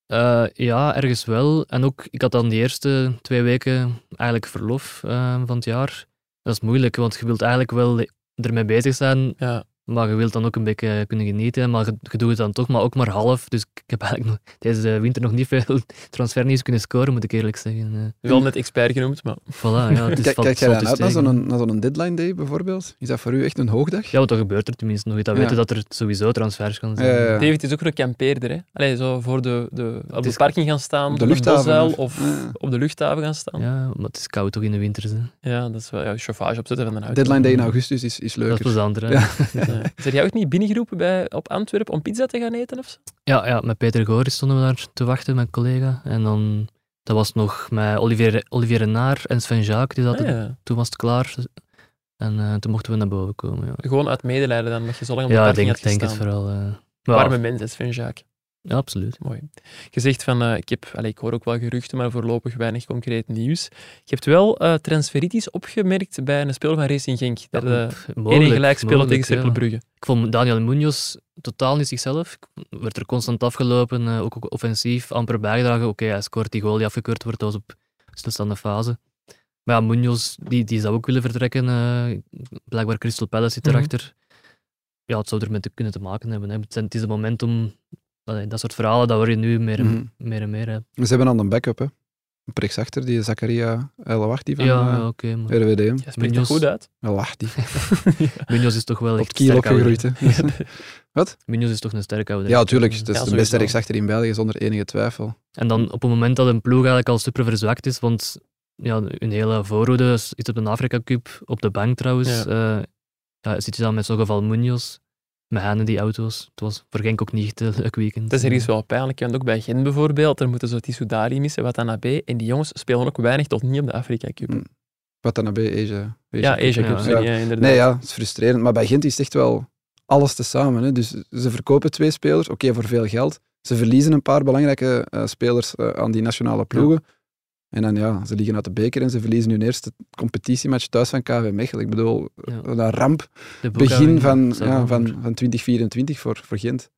Eh, ja, ergens wel. En ook, ik had dan die eerste twee weken eigenlijk verlof eh, van het jaar. Dat is moeilijk, want je wilt eigenlijk wel ermee bezig zijn, Ja. Maar je wilt dan ook een beetje kunnen genieten, maar je, je doet het dan toch, maar ook maar half. Dus ik heb eigenlijk nog, deze winter nog niet veel <laughs> transfernieuws kunnen scoren, moet ik eerlijk zeggen. Eh, Wel net expert genoemd, maar... Voilà, ja, het is Kijk, valt- kijk jij dan valt dus uit naar tegen. zo'n, naar zo'n deadline day bijvoorbeeld? Is dat voor u echt een hoogdag? Ja, want dan gebeurt er tenminste nog iets. Dan Ja. weten dat er sowieso transfers gaan zijn. Ja, ja, ja. David is ook een kampeerder, hè? Allee, zo voor de, de, op de is- parking gaan staan, op op de de, luchthaven, boszuil of- of Ja. op de luchthaven gaan staan. Ja, Ja, maar het is koud toch in de winter. Hè. dat is wel... Ja, chauffage opzetten van een auto. Deadline day in augustus is, is Dat is leuker. plezant. hè. Ja. Ja. Ja. Zijn jij ook niet binnengeroepen bij, op Antwerpen om pizza te gaan eten of zo? Ja, met Peter Goris stonden we daar te wachten, mijn collega. En dan, dat was nog met Olivier, Olivier Renaar en Sven Jaak, die zaten, Ah, ja. toen was het klaar. En eh, toen mochten we naar boven komen. Ja, Gewoon uit medelijden dan, dat je zo lang op de ja ik parking denk, had denk het gestaan. vooral. eh. Maar Warme mensen, Sven Jacques. ja, absoluut. Mooi. Je zegt van, eh, ik, heb, allee, ik hoor ook wel geruchten, maar voorlopig weinig concreet nieuws. Je hebt wel eh, transferitis opgemerkt bij een speler van Racing Genk. Dat Ja, de pff, ene mogelijk, gelijk speelde mogelijk, tegen Cercle ja. Brugge. Ik vond Daniel Munoz totaal niet zichzelf. Ik werd er constant afgelopen, eh, ook ook offensief, amper bijgedragen. Oké, hij scoort die goal die afgekeurd wordt, dat was op stilstaande fase. Maar ja, Munoz, die, die zou ook willen vertrekken. eh, blijkbaar Crystal Palace zit Mhm. erachter. Ja, het zou ermee te kunnen te maken hebben. Hè. Het zijn- het is een moment om... allee, dat soort verhalen, dat hoor je nu meer en, Mhm. meer, en meer. Hè. Ze hebben al een backup, hè? een priks achter, die Zakaria Elawachti van ja, eh, ja, oké. maar RWDM. Jij spreekt dat Munoz. goed uit. Elawachti. Munoz is toch wel Op echt het kiel sterk ouder, opgegroeid. hè. hè. <laughs> Munoz is toch een sterke ouder. Ja, tuurlijk. Het is Ja, de sowieso. beste rechtsachter in België, zonder enige twijfel. En dan op het moment dat een ploeg eigenlijk al super verzwakt is, want ja, hun hele voorhoede is is op de Afrika Cup, op de bank trouwens. Ja. ja, zit je dan met zo'n geval Munoz, met hen in die auto's. Het was voor Genk ook niet echt een leuk weekend. Eh, Het is ergens wel pijnlijk, want ook bij Gent bijvoorbeeld, er moeten zo Tissoudali missen, Watanabe, en die jongens spelen ook weinig tot niet op de Afrika Cup. Mm. Watanabe, Asia. Ja, Asia Cup, Cup, ja. sorry, ja, inderdaad. Nee, ja, het is frustrerend. Maar bij Gent is het echt wel alles tezamen. Hè. Dus ze verkopen twee spelers, oké, voor veel geld. Ze verliezen een paar belangrijke eh, spelers eh, aan die nationale ploegen. En dan ja, ze liggen uit de beker en ze verliezen hun eerste competitiematch thuis van KV Mechelen. Ik bedoel, Ja. een ramp. De Begin boekhouding van, staat ja, wel van, voor. van 2024 voor, voor Gent.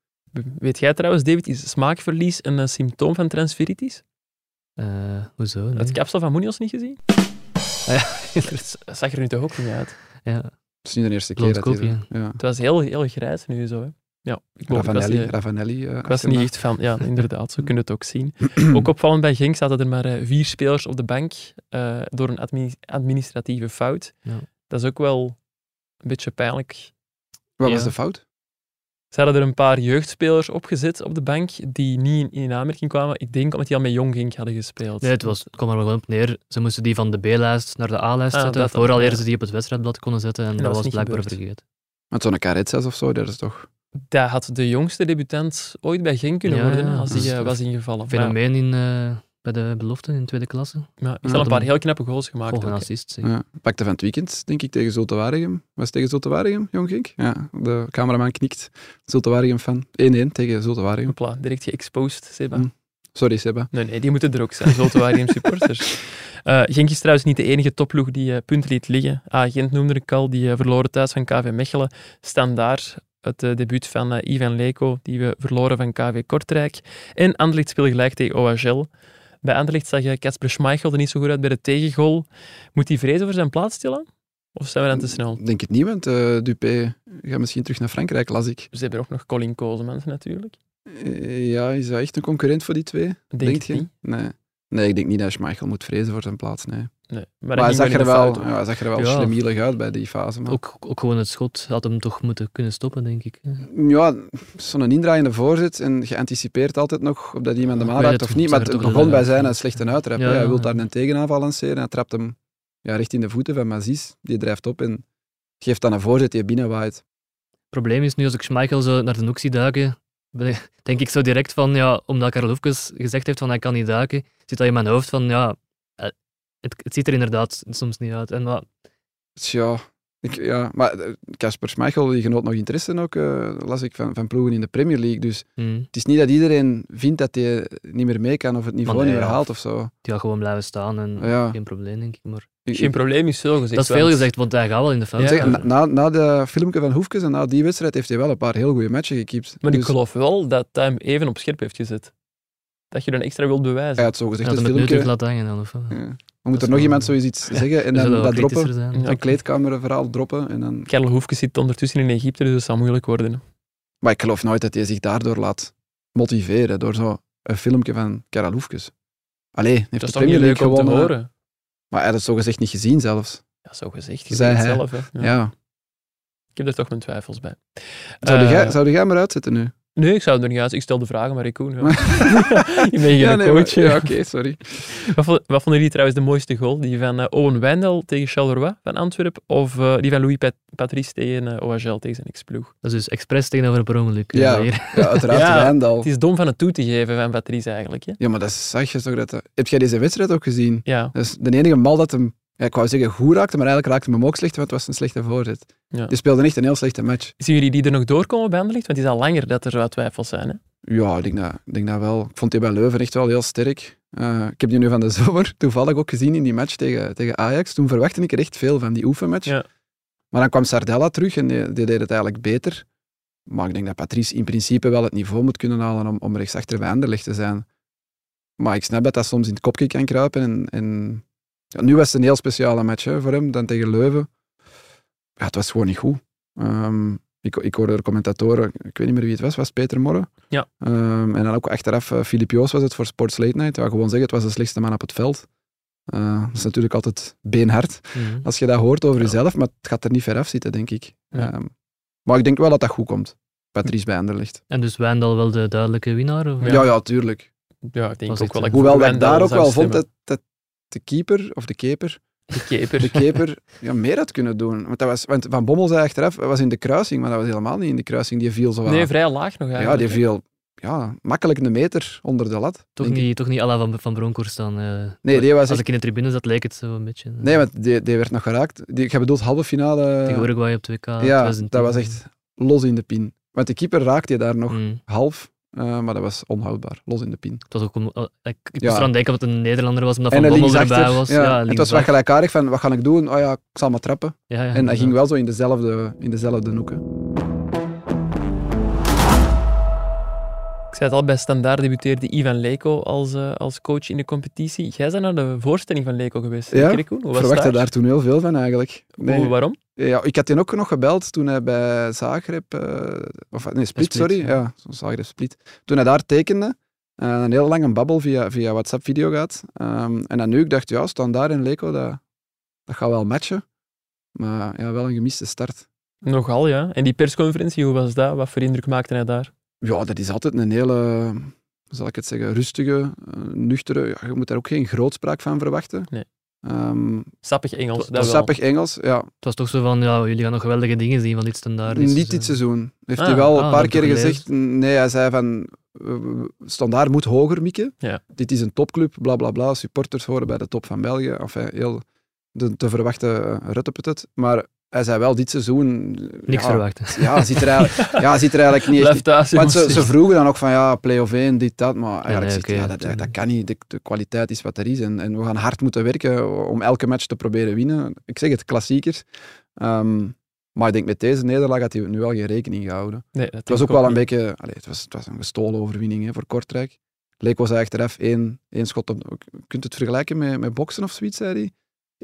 Weet jij trouwens, David, is smaakverlies een eh, symptoom van transferitis? Eh, hoezo? Nee. Het kapsel van Munoz niet <laughs> gezien? Ah Dat zag er nu toch ook niet uit. ja. Het is niet de eerste Blond keer dat hij... kopje. Ja. Het was heel, heel grijs nu zo. Hè. Ja, ik, geloof, ik was, Ravanelli. eh, Ravanelli eh, ik was achterna. niet echt van. Ja, inderdaad, zo kun je het ook zien. Ook opvallend bij Genk zaten er maar eh, vier spelers op de bank eh, door een admini- administratieve fout. Ja. Dat is ook wel een beetje pijnlijk. Wat was Ja. de fout? Ze hadden er een paar jeugdspelers opgezet op de bank die niet in, in aanmerking kwamen. Ik denk omdat die al met Jong Genk hadden gespeeld. Nee, het was, het kwam er maar gewoon op neer. Ze moesten die van de B-lijst naar de A-lijst Ah, zetten, dat dan, vooral ja. eerst ze die op het wedstrijdblad konden zetten. En, dat dat was was niet blijkbaar gebeurd. vergeten. Met zo'n Caretsas of zo, dat is toch... Dat had de jongste debutant ooit bij Genk kunnen Ja, worden ja. als die Dat is eh, was ingevallen. Maar, Fenomeen in, eh, bij de belofte in tweede klasse. maar ik had een paar Adam- heel knappe goals gemaakt. Volgens een ook, hè. assist. zeker. Ja, pakte van het weekend, denk ik, tegen Zulte Waregem. Was het tegen Zulte Waregem, Jong Gink? Ja, de cameraman knikt. Zulte Waregem fan. 1-1 tegen Zulte Waregem. Hopla, direct geëxposed, Seba. Mm. Sorry, Seba. Nee, nee, die moeten er ook zijn. Zulte Waregem supporters. Eh Genk is trouwens niet de enige topploeg die eh, punten liet liggen. Ah, Gent noemde ik al, die eh, verloren thuis van KV Mechelen. Standaard, het eh, debuut van eh, Ivan Leko, die we verloren van KV Kortrijk. En Anderlecht speelde gelijk tegen OHL. Bij Anderlecht zag eh, Kasper Schmeichel er niet zo goed uit bij de tegengoal. Moet hij vrezen voor zijn plaats stilaan? Of zijn we dan te Mm. snel? Denk het niet, want eh, Dupé gaat misschien terug naar Frankrijk, las ik. Ze hebben ook nog Colin Kozemans natuurlijk. Eh, ja, is hij echt een concurrent voor die twee? Denk, Denk ik je? niet. Nee. Nee, ik denk niet dat Schmeichel moet vrezen voor zijn plaats, nee. Maar, Nee. hij, Maar, dat ging zag er in de fout, wel, hoor. ja, hij zag er wel Ja. slimielig uit bij die fase. Maar... Ook, ook gewoon het schot had hem toch moeten kunnen stoppen, denk ik. Ja. Ja, zo'n indraaiende voorzet en je anticipeert altijd nog op dat iemand hem Ik aanraakt weet het, of niet. ze Maar werd het toch wel begon bij inderdaad. zijn een slechte uittrap. Ja, hè. Hij ja, wil ja. daar een tegenaanval lanceren. Hij trapt hem ja, recht in de voeten van Mazis. Die drijft op en geeft dan een voorzet die binnenwaait. Het probleem is nu, als ik Schmeichel zo naar de hoek zie duiken, ben ik- <laughs> denk ik zo direct van, ja, omdat Karel Hoefkes gezegd heeft van hij kan niet duiken, zit dat in mijn hoofd van, ja, eh, het, het ziet er inderdaad soms niet uit. En wat, Tja, ik, Dus ja. Maar eh, Kasper Schmeichel die genoot nog interesse ook, eh, las ik, van, van ploegen in de Premier League. Dus hm, het is niet dat iedereen vindt dat hij niet meer mee kan of het niveau nee, niet meer ja. haalt of zo. die gaat gewoon blijven staan en Ja. geen probleem, denk ik. Maar Ik- Geen probleem is veel gezegd. dat is veel want- gezegd, want hij gaat wel in de fout. Ja. Zeg, Zeg, na, na, na de filmpje van Hoefkes en na die wedstrijd heeft hij wel een paar heel goede matchen gekiept. Maar Dus- ik geloof wel dat hij hem even op scherp heeft gezet. Dat je dan extra wilt bewijzen. Hij had zo gezegd, dat het hem het nu terug filmpje... laat hangen dan, of wat? Ja. Er We is moeten er nog wel- iemand <laughs> zoiets iets zeggen en dan zullen wel dat kritischer droppen. zijn. Ja. Een kleedkamerverhaal droppen. En dan... Karel Hoefkes zit ondertussen in Egypte, dus dat zal moeilijk worden. Maar ik geloof nooit dat hij zich daardoor laat motiveren door zo'n filmpje van Karel Hoefkes. Allee, hij heeft dat is de toch niet Premier leuk League om te gewonnen. horen? Maar hij had het zogezegd niet gezien zelfs. Ja, zo gezegd. Je Zei weet het hij. zelf, hè. Ja. Ja. Ik heb er toch mijn twijfels bij. Zou, Eh, jij, zou jij maar uitzetten nu? Nee, ik zou het er niet uit. Ik stel de vragen, maar ik Koen. Ja. <laughs> ik ben geen Ja, nee, maar- coach. hè. ja, oké, sorry. <laughs> wat, vo- wat vonden jullie trouwens de mooiste goal? Die van eh, Owen Wijndal tegen Charleroi van Antwerpen? Of eh, die van Louis Pat- Patrice tegen eh, OHL tegen zijn ex-ploeg? Dat is dus expres tegenover per ongeluk. eh, Ja. <laughs> hier. Ja, uiteraard Ja. Wijndal. Het is dom van het toe te geven van Patrice eigenlijk. Hè? Ja, maar dat is- zag je toch dat... dat- Heb jij deze wedstrijd ook gezien? Ja, Dat is Dus de enige mal dat hem... Ja, ik wou zeggen goed raakte, maar eigenlijk raakte hem ook slecht, want het was een slechte voorzet. Ja. Die speelde echt een heel slechte match. Zien jullie die er nog doorkomen bij Anderlecht? Want het is al langer dat er wat twijfels zijn. Hè? Ja, ik denk dat, ik denk dat wel. Ik vond die bij Leuven echt wel heel sterk. Eh, ik heb die nu van de <laughs> zomer toevallig ook gezien in die match tegen, tegen Ajax. Toen verwachtte ik er echt veel van, die oefenmatch. Ja. Maar dan kwam Sardella terug en die, die deed het eigenlijk beter. Maar ik denk dat Patrice in principe wel het niveau moet kunnen halen om, om rechtsachter bij Anderlecht te zijn. Maar ik snap dat dat soms in het kopje kan kruipen. En, en ja, nu was het een heel speciale match hè, voor hem, dan tegen Leuven. Ja, het was gewoon niet goed. Ehm, Ik, ik hoorde er commentatoren, ik weet niet meer wie het was, was Peter Morren. Ja. Ehm, en dan ook achteraf, eh, Filip Joos was het voor Sports Late Night. Ja, gewoon zeggen, het was de slechtste man op het veld. Eh, dat is natuurlijk altijd beenhard Mhm. als je dat hoort over Ja. jezelf, maar het gaat er niet ver af zitten, denk ik. Ja. Ehm, maar ik denk wel dat dat goed komt. Patrice bij Anderlecht. En dus Wijndal wel de duidelijke winnaar? Of? Ja, ja, tuurlijk. Ja, ik denk Was ook het- wel. dat Hoewel ik voor dat ik Wijndal daar ook zou wel vond stemmen. dat, dat de keeper, of de keper, De keper. <laughs> <laughs> de keeper ja, meer had kunnen doen. Want, dat was, want Van Bommel zei achteraf, hij was in de kruising, maar dat was helemaal niet in de kruising. Die viel zo aan. Nee, vrij laag nog ja, eigenlijk. die viel ja, makkelijk een meter onder de lat. Toch denk ik. niet, toch niet à la van, van Bronckhorst dan? eh. Nee, die was Als echt- ik in de tribune zat, leek het zo een beetje. eh, Nee, want die, die werd nog geraakt. Die, ik heb bedoeld halve finale. Tegen Uruguay op 2K. ja, dat was echt los in de pin. Want de keeper raakte je daar nog Mm. half, eh, maar dat was onhoudbaar. Los in de pin. Het was ook, om- eh, ik ik Ja. moest eraan denken dat het een Nederlander was, omdat en Van een Bommel linksachter, erbij was. Ja, Ja, het was wel linksachter. gelijkaardig van, wat ga ik doen? Oh ja, ik zal maar trappen. Ja, ja, En dat ging inderdaad. wel zo in dezelfde, in dezelfde noeken. Ik zei het al, bij Standaard debuteerde Ivan Leko als, eh, als coach in de competitie. Jij bent naar de voorstelling van Leko geweest, Ja, Kirikoen. Hoe Ik was verwachtte daar? daar toen heel veel van eigenlijk. Nee. Hoe, waarom? Eh, Ja, ik had die ook nog gebeld toen hij bij Zagreb, eh, of nee, Split, Split, sorry. ja. Ja, Zagreb Split. Toen hij daar tekende, eh, een heel lange babbel via, via WhatsApp-video gehad. Ehm, en dan nu, ik dacht, ja, staan daar in Leko, dat, dat gaat wel matchen. Maar ja, wel een gemiste start. Nogal, ja. En die persconferentie, hoe was dat? Wat voor indruk maakte hij daar? Ja, dat is altijd een hele, hoe zal ik het zeggen, rustige, eh, nuchtere. Ja, je moet daar ook geen grootspraak van verwachten. Nee. Ehm, Sappig Engels, dat wel. sappig Engels, ja. Het was toch zo van, ja, jullie gaan nog geweldige dingen zien van dit standaard. Niet Dus, dit eh, seizoen. Heeft Ah, hij wel ah, een dat paar heb keer ik gezegd. Nee, hij zei van. eh, Standaard moet hoger mikken. Ja. Dit is een topclub, bla bla bla. Supporters horen bij de top van België. Enfin, heel de te eh, verwachten rutteputet. Maar hij zei wel dit seizoen. eh, Niks ja, verwachten. Ja, ziet er eigenlijk, ja, ziet er eigenlijk <laughs> niet echt Blijf <laughs> thuis, want ze, jongens. ze vroegen dan ook van ja, play-off 1, dit, dat. Maar eigenlijk nee, zit je, oké, ja, dat, dat- dat, dat kan niet. De, de kwaliteit is wat er is. En, en we gaan hard moeten werken om elke match te proberen winnen. Ik zeg het, klassiekers. Ehm, maar ik denk met deze nederlaag had hij nu wel geen rekening gehouden. Nee, dat Het was ook denk ik wel een niet. beetje... Allee, het, was, het was een gestolen overwinning hè, voor Kortrijk. Leek was hij achteraf één, één schot op... Je kunt het vergelijken met, met boksen of zoiets, zei hij.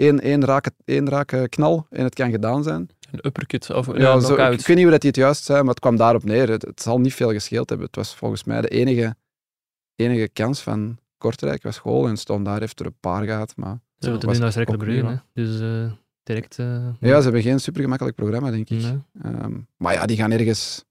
Eén, één, rake, één rake knal en het kan gedaan zijn. Een uppercut of een Ja, ja, zo, ik, knock-out. ik weet niet hoe dat die het juist zei, maar het kwam daarop neer. Het, het zal niet veel gescheeld hebben. Het was volgens mij de enige, enige kans van Kortrijk was goal en stond daar heeft er een paar gehad. Maar Ze moeten was nu naar Cercle ook Brugge, hè. prima. Dus eh, direct... eh, ja, ze hebben geen supergemakkelijk programma, denk ik. nee. Ehm, maar ja, die gaan ergens...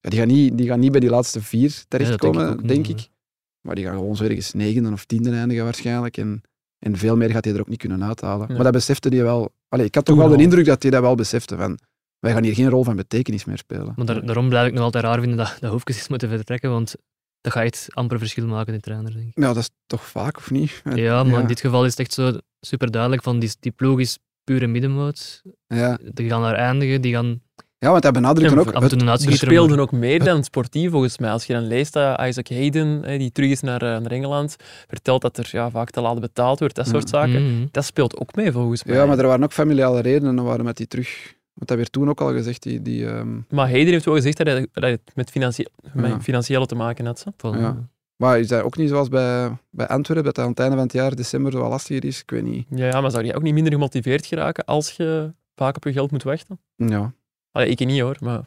Ja, die, gaan niet, die gaan niet bij die laatste vier terechtkomen, Nee, dat denk ik ook denk, niet, eh, ik, nee. Maar die gaan gewoon zo ergens negende of tiende eindigen waarschijnlijk. En, en veel meer gaat hij er ook niet kunnen uithalen. Nee. Maar dat besefte hij wel. Allee, ik had toch Toen wel de al. indruk dat hij dat wel besefte. Van, wij gaan hier geen rol van betekenis meer spelen. Maar daar- daarom blijf ik nog altijd raar vinden dat, dat Hoefkes is moeten vertrekken, want dat gaat echt amper verschil maken, die trainer, denk ik. Nou, dat is toch vaak, of niet? Ja, maar ja. in dit geval is het echt zo super duidelijk van die, die ploeg is pure middenmoot. Ja, Die gaan daar eindigen, die gaan ja want hij benadrukt En dan af ook... en het- toe een Ze uitschieter. speelden ook meer dan sportief, volgens mij. Als je dan leest dat Isaac Hayden, eh, die terug is naar, eh, naar Engeland, vertelt dat er ja, vaak te laat betaald wordt, dat Ja. soort zaken. Mhm. Dat speelt ook mee, volgens mij. ja, maar er waren ook familiale redenen waarom dat hij terug... Want dat werd toen ook al gezegd, die... die ehm, Maar Hayden heeft wel gezegd dat hij, dat hij het met, financie Ja. met financiële te maken had. Zo. Voilà. Ja. Maar is dat ook niet zoals bij, bij Antwerpen, dat dat aan het einde van het jaar, december, wel lastiger is? Ik weet niet. Ja, ja, maar zou je ook niet minder gemotiveerd geraken als je vaak op je geld moet wachten? Ja, Allee, ik niet hoor, <laughs> maar...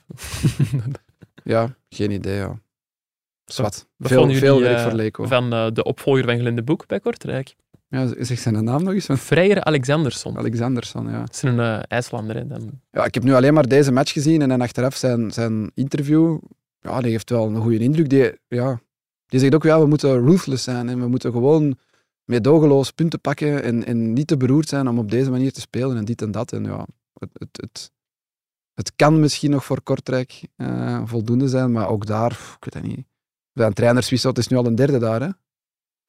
ja geen idee, ja. Zwat. Wat Veel, vonden veel jullie, werk eh, voor Leko. Van eh, de opvolger van Glenn de Boek bij <laughs> Kortrijk. Ja, zeg zijn naam nog eens, want Freire Alexandersson. Dat Alexanderson, ja. is een eh, IJslander. Hè. Dan, Ja, ik heb nu alleen maar deze match gezien en dan achteraf zijn, zijn interview. Ja, die geeft wel een goede indruk. Die, ja, die zegt ook, ja, we moeten ruthless zijn en we moeten gewoon meedogenloos punten pakken en, en niet te beroerd zijn om op deze manier te spelen en dit en dat. En ja, het, het, het, het kan misschien nog voor Kortrijk eh, voldoende zijn, maar ook daar, pff, ik weet het niet. Bij een trainerswissel, het is nu al een derde daar, hè?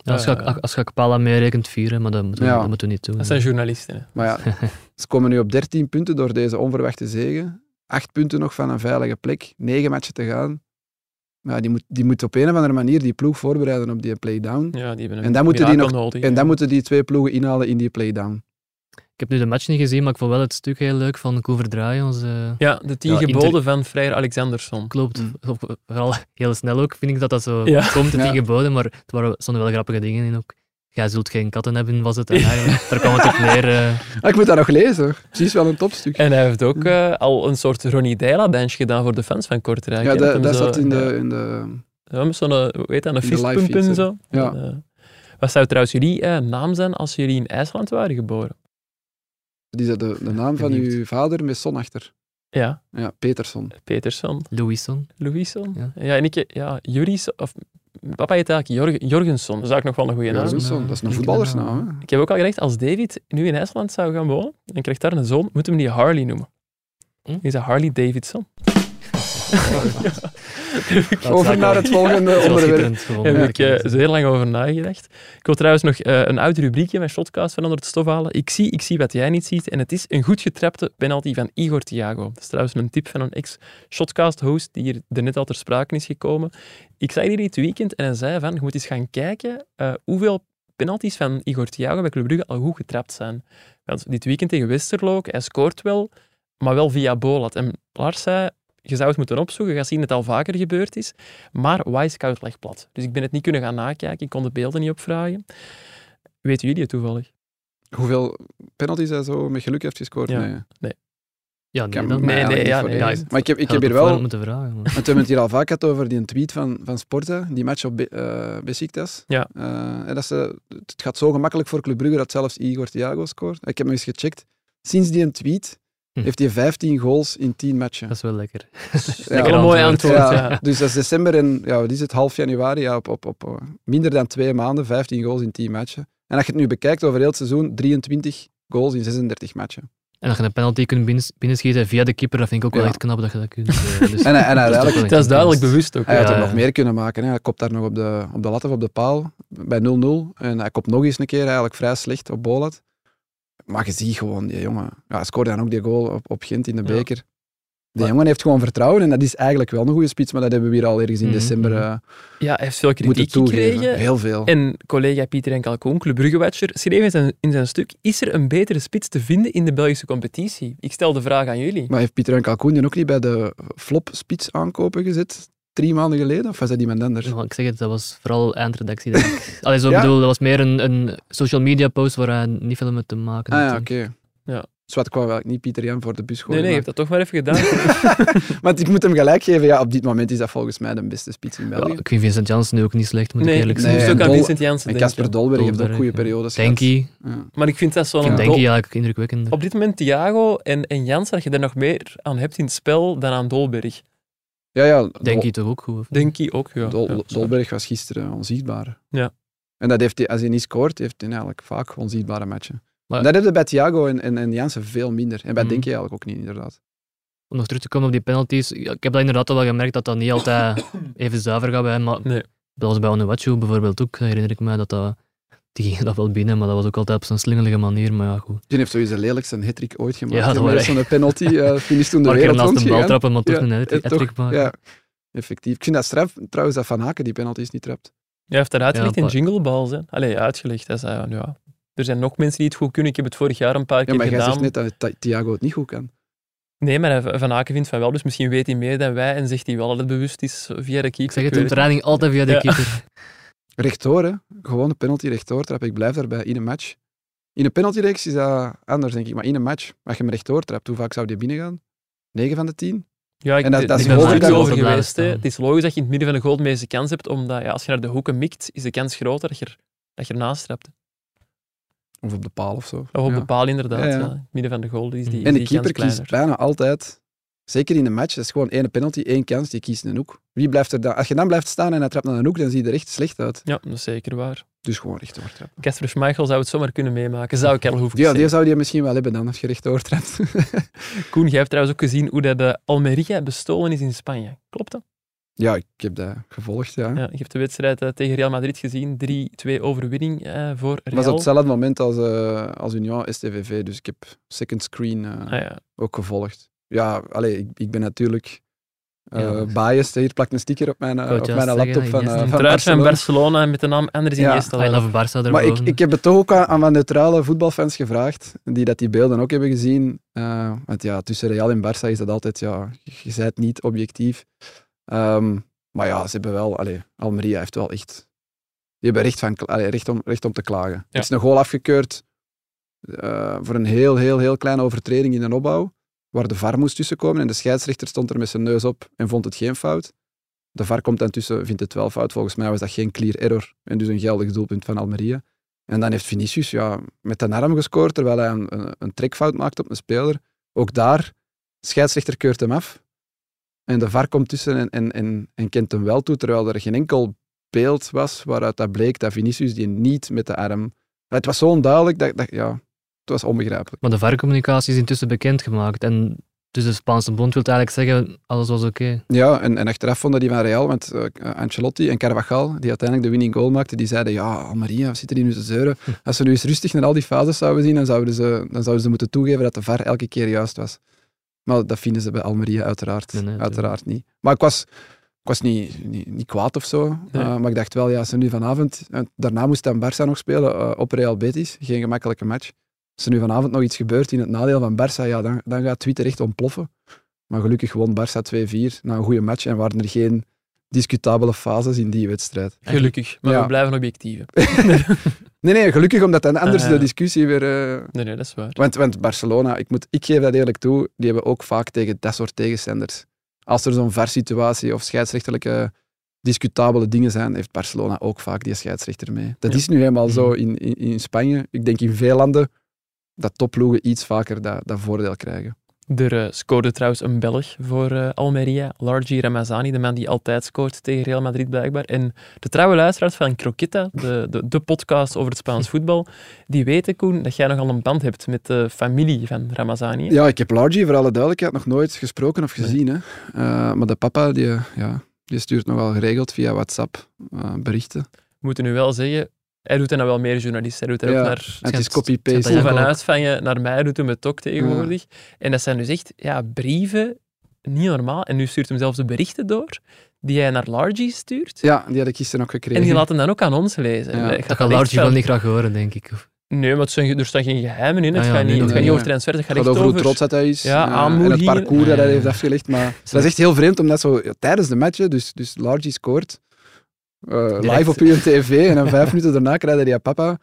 Ja, als, Ja, ga, ja. als Gakpala meerekent vieren, maar dat moeten, we, Ja. dat moeten we niet doen. dat zijn journalisten. Hè. Maar ja, <laughs> Ze komen nu op 13 punten door deze onverwachte zegen. Acht punten nog van een veilige plek. Negen matchen te gaan. Maar ja, die, moet, die moet op een of andere manier die ploeg voorbereiden op die play-down. Ja, die hebben een En dan moeten die mirakel nog- nodig. En dan moeten die twee ploegen inhalen in die play-down. Ik heb nu de match niet gezien, maar ik vond wel het stuk heel leuk van Koever Draai, onze... Ja, de tien Ja, geboden Inter- van Freire Alexandersson. Klopt, Mm. Op- vooral heel snel ook, vind ik dat dat zo Ja. komt, het Ja. ingeboden, maar er waren- stonden wel grappige dingen in ook. Jij zult geen katten hebben, was het. En eigenlijk, daar kwam het op neer. eh. Ah, ik moet dat nog lezen. hoor. Precies wel een topstuk. En hij heeft Mm. ook eh, al een soort Ronnie Deila-dansje gedaan voor de fans van Kortrijk. ja, Hij dat, heeft hem dat zo- zat in ja. de... In de Ja, met zo'n, eh, hoe heet dat, een In de live fistpump en feed, zo. ja. En, eh, wat zou trouwens jullie eh, naam zijn als jullie in IJsland waren geboren? die zei de, de naam van Benieuwd. uw vader met son achter. Ja, Ja, Peterson. Peterson, Louison. Louison. Ja, Ja. en ik, ja, Juris, of papa heet eigenlijk Jorg- Jorgensen. Dat is ook nog wel een goede Ja, naam. dat is naam. zo'n- dat is een Leuke voetballersnaam. naam. hè. Ik heb ook al gezegd, als David nu in IJsland zou gaan wonen en krijgt daar een zoon, moeten we hem die Harley noemen. Hm? Is dat Harley Davidson? Over naar het <laughs> volgende onderwerp. Daar heb ik eh, zeer lang over nagedacht. Ik wil trouwens nog eh, een oud rubriekje van Shotcast van onder het stof halen. Ik zie, ik zie wat jij niet ziet. En het is een goed getrapte penalty van Igor Thiago. Dat is trouwens een tip van een ex-Shotcast-host die hier daarnet al ter sprake is gekomen. Ik zag die dit weekend en hij zei van, je moet eens gaan kijken eh, hoeveel penalties van Igor Thiago bij Club Brugge al goed getrapt zijn. Want dit weekend tegen Westerlo, ook, hij scoort wel, maar wel via Bolat. En Lars zei, je zou het moeten opzoeken, je gaat zien dat het al vaker gebeurd is. Maar Wisecout lag plat. Dus ik ben het niet kunnen gaan nakijken, ik kon de beelden niet opvragen. Weten jullie het toevallig? Hoeveel penalties hij zo met geluk heeft gescoord? Ja. Nee, Ja, Ik nee, heb dan, mij nee, eigenlijk ja, niet voor nee, eens. ja. Maar ik heb, ik had heb hier het voor wel... moeten vragen. <laughs> maar- Want we hebben het hier al vaak gehad over die tweet van, van Sporza, die match op Be eh, Besiktas. Ja. Eh, en dat ze, het gaat zo gemakkelijk voor Club Brugge dat zelfs Igor Thiago scoort. Ik heb nog eens gecheckt. Sinds die tweet Hm. heeft hij 15 goals in 10 matchen. Dat is wel lekker. Lekker een mooi antwoord. ja. Dus dat is december en ja, wat is het, half januari, ja, op, op, op eh, minder dan twee maanden, 15 goals in 10 matchen. En als je het nu bekijkt over heel het seizoen, 23 goals in 36 matchen. En dat je een penalty kunt binnen- binnenschieten via de keeper, dat vind ik ook wel Ja. echt knap dat je dat <laughs> kunt. eh, dus- En, hij- en dat is toch eigenlijk wel een Dat is duidelijk kunst. bewust ook. Hij had Ja, er ja. Ah, nog meer kunnen maken. Hè. Hij kopt daar nog op de, op de lat of op de paal bij 0-0. En hij kopt nog eens een keer eigenlijk vrij slecht op Bolat. Maar je ziet gewoon, die jongen. Ja, hij scoorde dan ook die goal op, op Gent in de Ja. beker. Die Maar- jongen heeft gewoon vertrouwen en dat is eigenlijk wel een goede spits, maar dat hebben we hier al ergens in Mhm, december mhm. eh, Ja, hij heeft veel moeten kritiek toegeven. gekregen. Heel veel. En collega Pieter en Kalkoen, Club Bruggewatcher, schreef in zijn, in zijn stuk Is er een betere spits te vinden in de Belgische competitie? Ik stel de vraag aan jullie. Maar heeft Pieter en Kalkoen die ook niet bij de flop spits aankopen gezet? Drie maanden geleden? Of was dat iemand anders? Ah Nou, ik zeg het, dat was vooral eindredactie. Denk <laughs> ik. Allee, zo Ja? bedoel, dat was meer een, een social media post waar hij niet veel mee te maken Ah had. ja, oké. Dus denk ik. Ja. Zwart kwam wel niet Pieter Jan voor de bus Nee, gooien. nee, je maar- hebt dat toch maar <laughs> even gedaan. Want ik moet hem gelijk geven, ja, op dit moment is dat volgens mij de beste spits in België. Ja, ik vind Vincent Janssen ook niet slecht, moet ik Nee, eerlijk ik Nee, zeggen. moest ook en aan Dol- Vincent Janssen en denken. Casper Dolberg heeft ook Dolberg, goede ja. periodes gehad. Denkie. Ja. Maar ik vind dat zo'n Ik Ja. vind dol- Denkie eigenlijk indrukwekkend. Op dit moment Thiago en, en Jansen, dat je er nog meer aan hebt in het spel dan aan Dolberg. Ja, ja, Dol- Denkie toch ook goed? of niet? Denk ik ook, ja. Dol- Ja, sorry. Dolberg was gisteren onzichtbaar. Ja. En dat heeft hij, als hij niet scoort, heeft hij eigenlijk vaak onzichtbare matchen. Maar- dat heb je bij Thiago en, en, en Jansen veel minder. En bij Mhm. Denkie eigenlijk ook niet, inderdaad. Om nog terug te komen op die penalties. ja, Ik heb dat inderdaad al wel gemerkt dat dat niet <coughs> altijd even zuiver gaat bij hem. Maar Nee. dat was bij Onuwachu bijvoorbeeld ook, herinner ik mij dat dat. Die ging dat wel binnen, maar dat was ook altijd op zijn slingelige manier. Maar ja, goed. Die heeft sowieso lelijk zijn hat-trick ooit gemaakt. Ja, dat Ja, was dat echt- zo'n penalty. <laughs> eh finish toen de Maar ik wereld naast een bal rondgegaan. trappen, maar toch Ja, een Eh, toch, hat maken. Ja, effectief. Ik vind dat straf, trouwens, dat Van Haken die penalties niet trapt. Jij heeft daar uitgelegd Ja, in pa- Jingle Balls. Hè? Allee, uitgelegd. Hij zei van, ja, er zijn nog mensen die het goed kunnen. Ik heb het vorig jaar een paar Ja, keer maar jij gedaan. zegt net dat Thi- Thiago het niet goed kan. Nee, maar hij- Van Aken vindt van wel. Dus misschien weet hij meer dan wij en zegt hij wel dat het bewust is via de keeper. Ik zeg het weet in training altijd via de Ja. <laughs> keeper. Rechtdoor, hè. Gewoon een penalty rechtdoor trap. Ik blijf daarbij in een match. In een penaltyreeks is dat anders, denk ik. Maar in een match, als je hem rechtdoor trapt, hoe vaak zou die binnengaan? 9 van de 10? Ja, ik, En dat- d- dat is ik ben er logisch ook dat over we blijven geweest. hè. staan. Het is logisch dat je in het midden van de goal de meeste kans hebt, omdat ja, als je naar de hoeken mikt, is de kans groter dat je, er- dat je ernaast trapt. hè. Of op de paal of zo. Of op Ja. de paal inderdaad. Ja, ja. ja. In het midden van de goal is die, En is de die kans keeper kleiner. kiest bijna altijd, zeker in een match, dat is gewoon één penalty, één kans, die kiest een hoek. Wie blijft er dan? Als je dan blijft staan en hij trapt naar een hoek, dan zie je er echt slecht uit. Ja, dat is zeker waar. Dus gewoon rechtdoor trappen. Kasper Schmeichel zou het zomaar kunnen meemaken. Zou ik al hoeven Ja, die zou je misschien wel hebben dan, als je rechtdoor trapt. <laughs> Koen, jij hebt trouwens ook gezien hoe dat de Almeria bestolen is in Spanje. Klopt dat? ja, ik heb dat gevolgd, ja. Ja, je hebt de wedstrijd eh, tegen Real Madrid gezien. 3-2 overwinning eh, voor Het was op Real. hetzelfde moment als, eh, als Union STVV, dus ik heb second screen eh, Ah, ja. ook gevolgd. Ja, allee, ik, ik ben natuurlijk eh Ja. biased. Hier plakt een sticker op mijn, eh, wou het op juist mijn laptop van, zeggen, yes. eh, Een van Truit van Barcelona. Barcelona met de naam Anders Ja, Iniesta. Alleen of Barça Maar ik, erboven. ik heb het toch ook aan, aan wat neutrale voetbalfans gevraagd, die dat die beelden ook hebben gezien. Eh, want ja, tussen Real en Barça is dat altijd, ja, je bent niet objectief. Ehm, maar ja, ze hebben wel, allee, Almeria heeft wel echt die hebben recht, van, kla- allee, recht, om, recht om te klagen. Het is een goal afgekeurd eh, voor een heel, heel, heel kleine overtreding in een opbouw, waar de VAR moest tussenkomen en de scheidsrechter stond er met zijn neus op en vond het geen fout. De VAR komt dan tussen, vindt het wel fout. Volgens mij was dat geen clear error en dus een geldig doelpunt van Almeria. En dan heeft Vinicius ja, met de arm gescoord, terwijl hij een, een, een trekfout maakt op een speler. Ook daar, scheidsrechter keurt hem af. En de VAR komt tussen en, en, en, en kent hem wel toe, terwijl er geen enkel beeld was waaruit dat bleek dat Vinicius die niet met de arm... Maar het was zo onduidelijk, dat, dat, ja, het was onbegrijpelijk. Maar de VAR-communicatie is intussen bekendgemaakt. En dus de Spaanse bond wil eigenlijk zeggen, alles was oké. Ja, en, en achteraf vonden die van Real, want eh, Ancelotti en Carvajal, die uiteindelijk de winning goal maakten, die zeiden, ja, Almeria, wat zitten die nu te zeuren? Hm. Als ze nu eens rustig naar al die fases zouden zien, dan zouden ze, dan zouden ze moeten toegeven dat de VAR elke keer juist was. Maar dat vinden ze bij Almeria uiteraard, Nee, nee, tuurlijk. uiteraard niet. Maar ik was, ik was niet, niet, niet kwaad of zo, Nee. eh, maar ik dacht wel, ja, als ze nu vanavond... en daarna moest dan Barça nog spelen eh, op Real Betis, geen gemakkelijke match. Als er nu vanavond nog iets gebeurt in het nadeel van Barça, ja, dan, dan gaat Twitter echt ontploffen. Maar gelukkig won Barça 2-4 na een goede match en waren er geen discutabele fases in die wedstrijd. Gelukkig, maar Ja. we blijven <laughs> objectief. hè. Nee, nee, gelukkig omdat dan anders Ah, ja. de discussie weer... eh, Nee, nee, dat is waar. want, want Barcelona, ik, moet, ik geef dat eerlijk toe, die hebben ook vaak tegen dat soort tegenstanders. Als er zo'n VAR-situatie of scheidsrechtelijke discutabele dingen zijn, heeft Barcelona ook vaak die scheidsrechter mee. Dat Ja. is nu helemaal zo in, in, in Spanje. Ik denk in veel landen dat topploegen iets vaker dat, dat voordeel krijgen. Er eh, scoorde trouwens een Belg voor eh, Almeria, Largi Ramazani, de man die altijd scoort tegen Real Madrid blijkbaar. En de trouwe luisteraars van Croquita, de, de, de podcast over het Spaans voetbal, die weten, Koen, dat jij nogal een band hebt met de familie van Ramazani. hè? Ja, ik heb Largy voor alle duidelijkheid nog nooit gesproken of gezien. Hè. Eh, maar de papa, die, ja, die stuurt nogal geregeld via WhatsApp eh, berichten. We moeten nu wel zeggen, hij doet dat nou wel meer journalist, hij doet dat Ja, ook en naar... het is schijnt- schijnt copy-paste. dat Koen Ja, van ook. Uitvangen naar mij doet hem het ook tegenwoordig. En dat zijn dus echt ja, brieven, niet normaal. En nu stuurt hem zelfs de berichten door, die hij naar Largi stuurt. Ja, die had ik gisteren ook gekregen. En die laat hem dan ook aan ons lezen. Ja. En Dat gaat Dat dan gaat echt Largy wel van- niet graag horen, denk ik. Of- Nee, maar het zijn, er staan geen geheimen in. Het Ah ja, gaat niet, nee, het nee, gaat niet nee. over transfer, het gaat Het gaat echt over over... hoe trots dat hij is. Ja, eh, en het aanmoedigingen. parcours dat Ja, hij ja, heeft ja. afgelegd. <laughs> Maar dat is echt heel vreemd, omdat zo ja, tijdens de match, hè, dus, dus Largy scoort. eh, live op uw tv en dan vijf <laughs> minuten daarna krijgt hij aan papa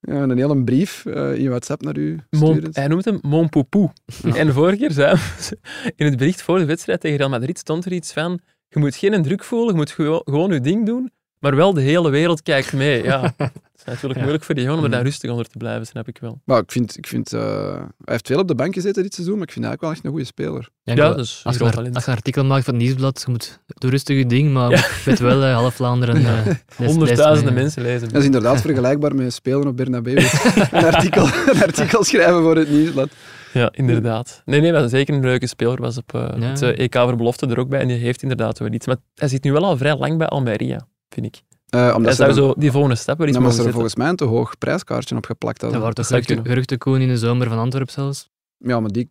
eh, een hele brief eh, in WhatsApp naar u Mon- sturen. hij noemt hem Mon Poupou. En vorige keer zei hij- <laughs> in het bericht voor de wedstrijd tegen Real Madrid stond er iets van je moet geen druk voelen, je moet gewo- gewoon je ding doen, maar wel de hele wereld kijkt mee. Ja, <laughs> het is natuurlijk moeilijk voor die jongen om Mm. er daar rustig onder te blijven, snap ik wel. Maar ik vind, ik vind eh, hij heeft veel op de bank gezeten dit seizoen, maar ik vind hij ook wel echt een goede speler. Ja, Ja, wel- dat is een als, je groot een, talent. als je een artikel maakt van het nieuwsblad, je moet doe rustig je ding, maar <laughs> weet wel, eh, half Vlaanderen... eh, leest- leest Honderdduizenden mee. mensen lezen. Dat is <laughs> inderdaad vergelijkbaar met spelen op Bernabeu. <laughs> een, artikel, een artikel schrijven voor het nieuwsblad. Ja, inderdaad. Nee, nee, maar zeker een leuke speler was op eh, Ja. het eh, EK voor belofte er ook bij en die heeft inderdaad wel iets. Maar hij zit nu wel al vrij lang bij Almeria, vind ik. Eh, omdat Hij ze, er, zou zo die volgende stap weer iets omdat mogen ze er volgens zetten. mij een te hoog prijskaartje op geplakt Er hadden. waren toch zou geruchten, kunnen. geruchtenkoen in de zomer van Antwerpen zelfs. Ja, maar die,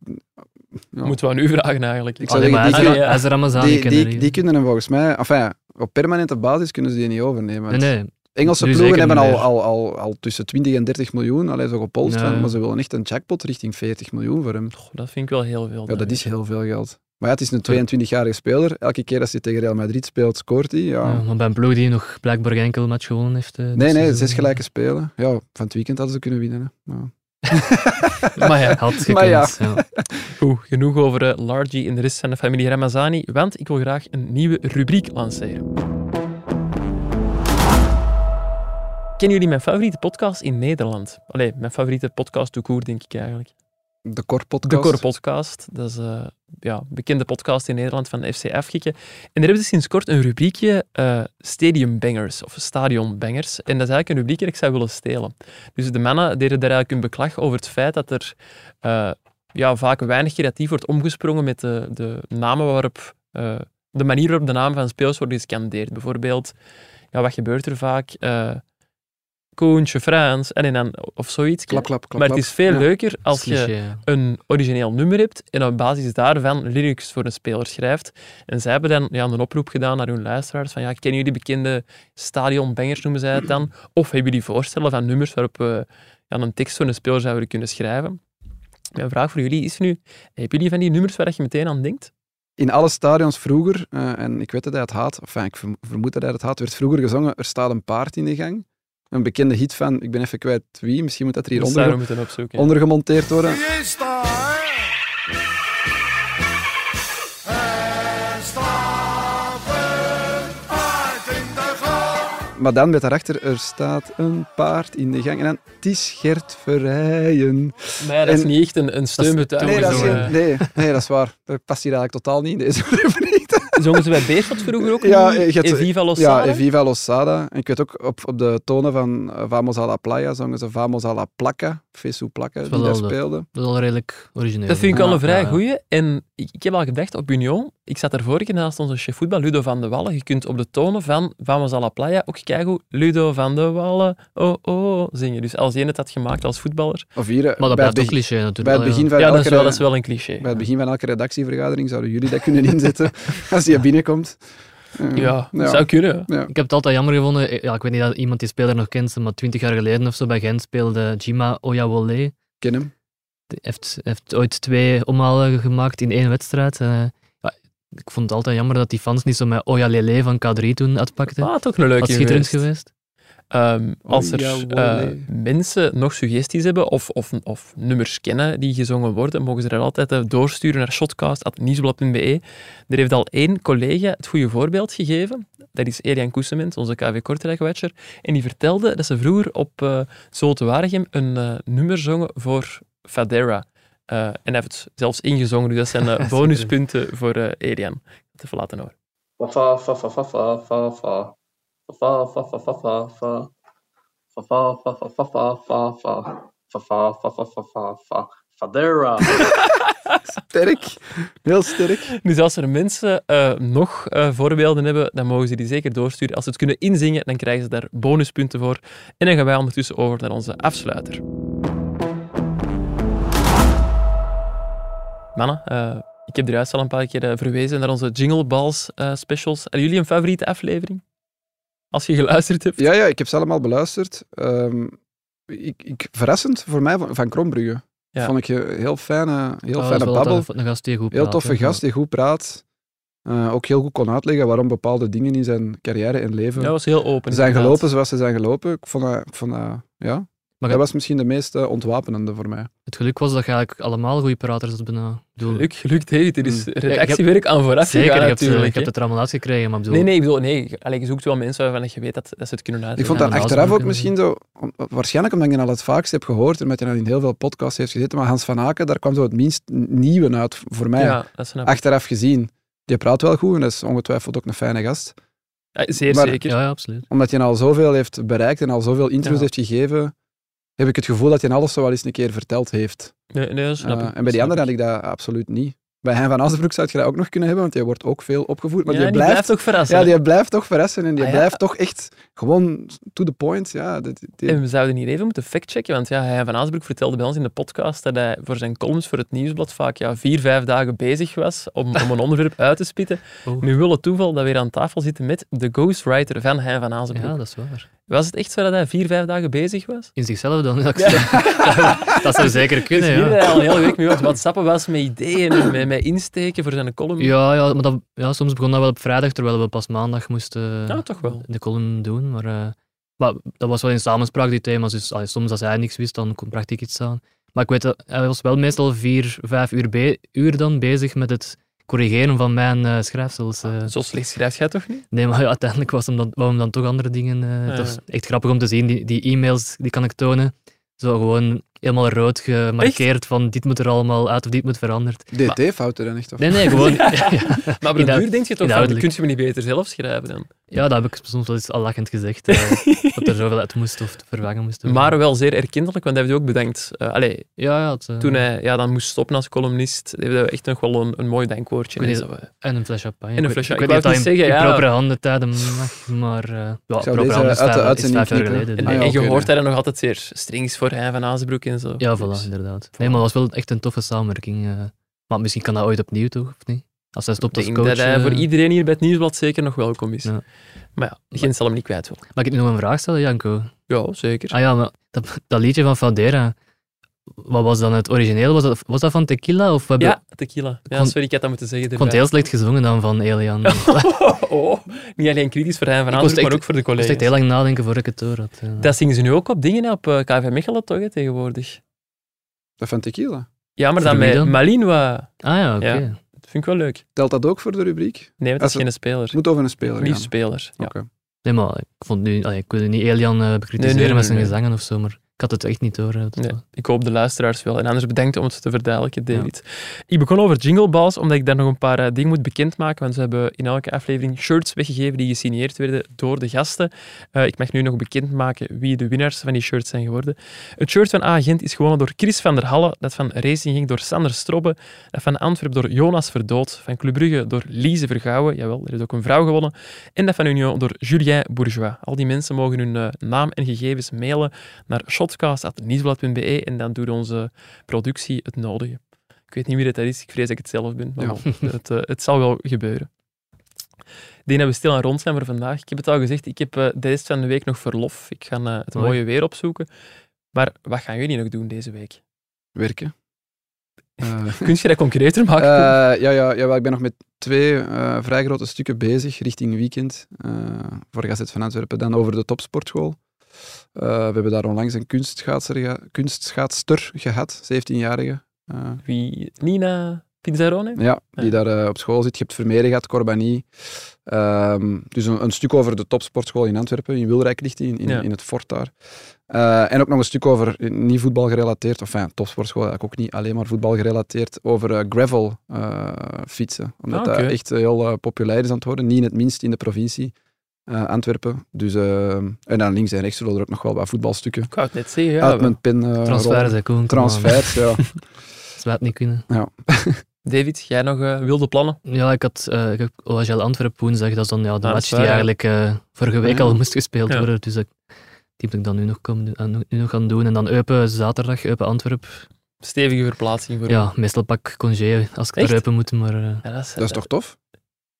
Ja. Moeten we aan u vragen eigenlijk. Ah, Ik zou Allee, zeggen, Ah, maar die hij is- kunnen- hij is de Ramazani die, kennen, die, hè. die kunnen hem volgens mij... Enfin, op permanente basis kunnen ze die niet overnemen. Nee, nee, Engelse Nu ploegen zeker hebben niet al, meer. al, al, al tussen 20 en 30 miljoen, alleen zo gepolst, Ja. van, maar ze willen echt een jackpot richting 40 miljoen voor hem. Goh, dat vind ik wel heel veel. Ja, dat dan. is heel veel geld. Maar ja, het is een 22-jarige speler. Elke keer als hij tegen Real Madrid speelt, scoort hij. Ja. Ja, eh, maar bij een ploeg die nog blijkbaar geen enkel match gewonnen heeft. eh, dit Nee, nee, seizoen. zes <laughs> gelijke spelen. Ja, van het weekend hadden ze kunnen winnen. Hè. Ja. Maar ja, <laughs> Had gekend, Maar ja. ja. goed, genoeg over eh, Largy en de rest van de familie Ramazani, want ik wil graag een nieuwe rubriek lanceren. Kennen jullie mijn favoriete podcast in Nederland? Allee, mijn favoriete podcast to court, denk ik eigenlijk. De Korpodcast. De Core Podcast, dat is eh, ja, een bekende podcast in Nederland van de FC Afkikken. En daar hebben ze sinds kort een rubriekje eh, Stadium Bangers, of Stadion Bangers. En dat is eigenlijk een rubriekje dat ik zou willen stelen. Dus de mannen deden daar eigenlijk hun beklag over het feit dat er eh, ja, vaak weinig creatief wordt omgesprongen met de, de namen waarop... eh, de manier waarop de namen van spelers worden gescandeerd. Bijvoorbeeld, ja, wat gebeurt er vaak? Eh Koentje, Frans, en, en dan, of zoiets. Klap, klap, klap. maar het klap. is veel Ja. leuker als je Cliché, ja. een origineel nummer hebt en op basis daarvan lyrics voor een speler schrijft. En zij hebben dan ja, een oproep gedaan naar hun luisteraars van ja, kennen jullie bekende stadionbangers, noemen zij het dan? Of hebben jullie voorstellen van nummers waarop we ja, een tekst voor een speler zouden kunnen schrijven? Mijn vraag voor jullie is nu, hebben jullie van die nummers waar je meteen aan denkt? in alle stadions vroeger, eh, en ik weet dat hij het haat, enfin, ik verm- vermoed dat hij het haat, werd vroeger gezongen, er staat een paard in de gang. Een bekende hit van, ik ben even kwijt wie, misschien moet dat er hier Dus onder, daarom moeten we opzoeken. ja. ondergemonteerd worden. Hier sta Er staat een paard in de gang. Maar dan met daarachter, er staat een paard in de gang. En dan, het is Gert Verrijen. Nee, dat is En- niet echt een, een steunbetuiging. Nee, dat is, Jongen, geen- Zongen- nee, nee, dat is waar. Dat past hier eigenlijk totaal niet in deze <laughs> rubriek. Zongen ze bij Beerschot vroeger ook Ja, niet? eh, je hebt- Eviva Ja, Losada? Eviva Losada. En ik weet ook, op, op de tonen van eh, Vamos a la Playa zongen ze Vamos a la Placa, Fesu Placa, is die wel daar wel de- speelde. Dat is al redelijk origineel. Dat vind ik al Ja, een vrij ja, ja. goeie. En ik, ik heb al gedacht op Union. Ik zat daar vorige keer naast onze chef voetbal, Ludo van de Wallen. Je kunt op de tonen van Vamos a la Playa ook kijken Ludo van de Wallen, oh oh, zingen. Dus als je het had gemaakt als voetballer. Of hier, eh, Maar dat bij, blijft het ook begin, cliché natuurlijk. bij het wel, begin van Ja, dat elke, eh, is wel, dat is wel een cliché. bij het begin van elke redactievergadering zouden jullie dat kunnen <laughs> inzetten als die binnenkomt. Eh, Ja, dat zou kunnen. Ik heb het altijd jammer gevonden. eh, Ja, ik weet niet dat iemand die speler nog kent, maar twintig jaar geleden of zo bij Gent speelde Jima Oyawole. ken hem. Die heeft, heeft ooit twee omhalen gemaakt in één wedstrijd. eh. ja, ik vond het altijd jammer dat die fans niet zo met Oyalele van K3 toen uitpakten. Ah, toch een leuke dat is schitterend geweest. Ehm, als er Oh, ja, wow, eh, nee. mensen nog suggesties hebben of, of, of nummers kennen die gezongen worden, mogen ze dat altijd eh, doorsturen naar shotcast.nieuwsblad.be. Er heeft al één collega het goede voorbeeld gegeven. Dat is Elian Koesemens, onze KV Kortrijkwatcher. En die vertelde dat ze vroeger op eh Zolte Waregem een eh, nummer zongen voor Fadera. Eh, en hij heeft het zelfs ingezongen, dus dat <laughs> zijn eh, bonuspunten voor eh Elian. Te verlaten hoor. Fa fa fa fa fa fa fa fa fa fa fa fa fa fa fa fa fa fa fa fa fa fa fa fa fa fa fa fa fa uh, Fadera. Sterk. Heel sterk. Dus als er mensen eh, nog eh, voorbeelden hebben, dan mogen ze die zeker doorsturen. Als ze het kunnen inzingen, dan krijgen ze daar bonuspunten voor. En dan gaan wij ondertussen over naar onze afsluiter. Mannen, eh, ik heb er juist al een paar keer eh, verwezen naar onze Jingle Balls eh, specials. Hebben jullie een favoriete aflevering? Als je geluisterd hebt. Ja, ja, ik heb ze allemaal beluisterd. Ehm, ik, ik, verrassend voor mij van, van Krombrugge. Ja. Oh, Vond ik een heel fijne, heel Ah, dat is fijne wel altijd babbel. Een, een gast die goed Heel praat, toffe hè. gast die goed praat. Eh, ook heel goed kon uitleggen waarom bepaalde dingen in zijn carrière en leven Dat was heel open. zijn inderdaad. gelopen zoals ze zijn gelopen. Ik vond dat, ik vond dat- ja. Maar dat het, was misschien de meest eh, ontwapenende voor mij. het geluk was dat je eigenlijk allemaal goede praters had bijna. Ik bedoel, Geluk, geluk David. Er is Mm. redactiewerk aan vooraf Zeker, gegaan ik heb, het, natuurlijk, ik heb hè. het er allemaal uitgekregen, maar ik bedoel, Nee, nee, ik bedoel, nee. Allee, je zoekt wel mensen waarvan je weet dat, dat ze het kunnen Ik uitleggen. vond Ja, dat dat was achteraf ook ook een- misschien zo... om- Waarschijnlijk omdat je dat al het vaakst hebt gehoord en omdat je dat in heel veel podcasts heeft gezeten. Maar Hans van Aken, daar kwam zo het minst nieuwe uit voor mij. Ja, dat snap ik. Achteraf gezien. Die praat wel goed en dat is ongetwijfeld ook een fijne gast. Ja, Eh, zeer maar- zeker. Ja, ja, absoluut. Omdat je al zoveel heeft bereikt en al zoveel interviews Ja. heeft gegeven, heb ik het gevoel dat je alles zo wel eens een keer verteld heeft. Nee, nee, dat snap Eh, ik. en bij die Snap anderen ik. had ik dat absoluut niet. Bij Hein van Asbroek zou je dat ook nog kunnen hebben, want die wordt ook veel opgevoerd. Maar ja, die blijft, toch verrassen. ja, die blijft toch verrassen en die Ah, ja. blijft toch echt gewoon to the point. Ja, dat- die- En we zouden hier even moeten factchecken, want ja, hij van Aasbroek vertelde bij ons in de podcast dat hij voor zijn columns voor het Nieuwsblad vaak ja, vier, vijf dagen bezig was om, om een onderwerp uit te spitten. Oh. Nu wil het toeval dat we hier aan tafel zitten met de ghostwriter van Hein van Aasbroek. Ja, dat is waar. Was het echt zo dat hij vier, vijf dagen bezig was? In zichzelf dan. Dat, <laughs> dat zou zeker kunnen, dus hier dat ja. hij al een hele week mee was, wat sappen was met ideeën en met, met insteken voor zijn column. Ja, ja, maar dat, ja, soms begon dat wel op vrijdag, terwijl we pas maandag moesten eh, Ja, toch wel. de column doen. Maar, eh, maar dat was wel in samenspraak, die thema's. Dus allee, soms als hij niks wist, dan kon- bracht ik iets aan. Maar ik weet dat hij was wel meestal vier, vijf uur, be- uur dan bezig met het corrigeren van mijn eh, schrijfsels. eh. Ah, Zo slecht schrijft jij toch <laughs> niet? Nee, maar ja, uiteindelijk was hem dan, wou hem dan toch andere dingen. eh, Ja. Het was echt grappig om te zien, die, die e-mails, die kan ik tonen. Zo gewoon helemaal rood gemarkeerd van dit moet er allemaal uit of dit moet veranderd. DT-fouten dan echt. Of? Nee, <laughs> nee, <laughs> gewoon... Maar op de Inhoud- duur denk je toch van, inhoudelijk. kun je me niet beter zelf schrijven dan? Ja, dat heb ik soms wel eens al lachend <laughs> gezegd. eh, dat er zoveel uit moest of te vervangen moest worden. Maar wel zeer erkentelijk, want hij heeft ook bedankt. eh allee, Ja, ja. Het, eh, toen hij ja, dan moest stoppen als columnist, heeft hij echt nog wel een, een mooi dankwoordje. Ik en weet zo, eh. En een fles champagne. En een Ik weet- fles Ik weet champagne. niet of Ik wou het niet dat in, zeggen, in ja. propere handen tijden mag, maar... eh ja, zou propere deze handen is uit de vijf- is uitzending vijf jaar knippen. geleden. En, dus- Ah, ja, en je oké, hoort ja. daar dan nog altijd zeer strings voor Hein van Azenbroek en zo. Ja, Dus- voilà, inderdaad. Nee, maar het was wel echt een toffe samenwerking. eh. maar misschien kan dat ooit opnieuw, toch? Of niet? Als hij Ik stopt als denk coach. dat hij eh, voor iedereen hier bij het Nieuwsblad zeker nog welkom is. Ja. Maar ja, geen zal hem niet kwijt willen. Mag ik nu nog een vraag stellen, Janko? Ja, zeker. Ah ja, maar dat, dat liedje van Fadera. Wat was dan het origineel? Was dat, was dat van Tequila? Of we hebben, Ja, tequila. Ja, kon- sorry, ik had dat moeten zeggen. Ik vond het erbij. heel slecht gezongen dan van <laughs> Elian. Ik Oh, niet alleen kritisch voor Hein van moest Aansdorp, echt- maar ook voor de moest collega's. echt heel lang nadenken voordat ik het door had. ja. Dat zingen ze nu ook op dingen, hè, op eh, KV Mechelen toch, hè, tegenwoordig. Dat van tequila. Ja, maar Voor dan wie met dan? Malinwa. Ah ja, oké. Ja. Dat vind ik wel leuk. Telt dat ook voor de rubriek? Nee, want dat Als is het- geen speler. Het moet over een speler Lief gaan. speler. Ja. Oké. Nee, maar ik vond nu... allee, ik wilde niet Elian eh, bekritiseren nee, met nee, zijn nee. gezangen of zo, maar ik had het echt niet door. eh, dat Nee, wel. ik hoop de luisteraars wel. En anders bedankt om het te verduidelijken, David. Ik begon over Jingle Balls, omdat ik daar nog een paar eh, dingen moet bekendmaken. Want ze hebben in elke aflevering shirts weggegeven die gesigneerd werden door de gasten. Eh, ik mag nu nog bekendmaken wie de winnaars van die shirts zijn geworden. Het shirt van Agent is gewonnen door Chris van der Halle. Dat van Racing ging door Sander Strobbe. Dat van Antwerp door Jonas Verdood. Van Club Brugge door Lise Vergouwen. Jawel, er is ook een vrouw gewonnen. En dat van Union door Julien Bourgeois. Al die mensen mogen hun eh, naam en gegevens mailen naar shotcast.nieuwsblad.be en dan doet onze productie het nodige. Ik weet niet wie dat is, ik vrees dat ik het zelf ben, maar Ja. <laughs> bon, het, eh, het zal wel gebeuren. Ik denk dat we stil aan rond zijn voor vandaag. Ik heb het al gezegd, ik heb eh, de rest van de week nog verlof. Ik ga eh, het Mooi. mooie weer opzoeken. Maar wat gaan jullie nog doen deze week? <laughs> Werken. Eh, Kun je dat concreter maken? Eh, ja, ja, jawel, ik ben nog met twee eh, vrij grote stukken bezig richting weekend eh voor Gazet van Antwerpen. Dan over de topsportschool. Eh, we hebben daar onlangs een kunstschaatser, ge- kunstschaatster gehad, 17-jarige. eh, Wie? Nina Pinzarone? ja, die Ja. daar eh, op school zit. Je hebt Vermeer gehad, Corbani. Ehm, dus een, een stuk over de topsportschool in Antwerpen, in Wilrijk ligt die, in, in, Ja. in het fort daar. Eh, en ook nog een stuk over, eh, niet voetbal gerelateerd, of enfin, topsportschool eigenlijk ook niet alleen maar voetbal gerelateerd, over eh, gravel eh, fietsen. Omdat Ah, oké. dat echt eh, heel eh, populair is aan het worden, niet in het minst in de provincie. eh, Antwerpen. Dus, ehm, en dan links en rechts zullen er ook nog wel wat voetbalstukken Ik wou het net zeggen. Ja, uit mijn pen eh, Transfer, rollen. zei Koen. Transfers, <laughs> ja. Dat zou het niet kunnen. David, jij nog eh, wilde plannen? Ja, ik had eh, ik heb OHL Antwerp woensdag. Dat is dan ja, de Ah, match dat is waar, die ja. Mhm. eigenlijk eh, vorige week Ja. al moest gespeeld Ja. worden. Dus dat, die moet ik dan nu nog, komen, doen- aan- nu nog gaan doen. En dan Eupen zaterdag, Eupen Antwerp. Stevige verplaatsing voor Ja, meestal pak ik congé als ik Echt? naar Eupen moet. Maar, eh, Ja, dat is, Dat is toch tof?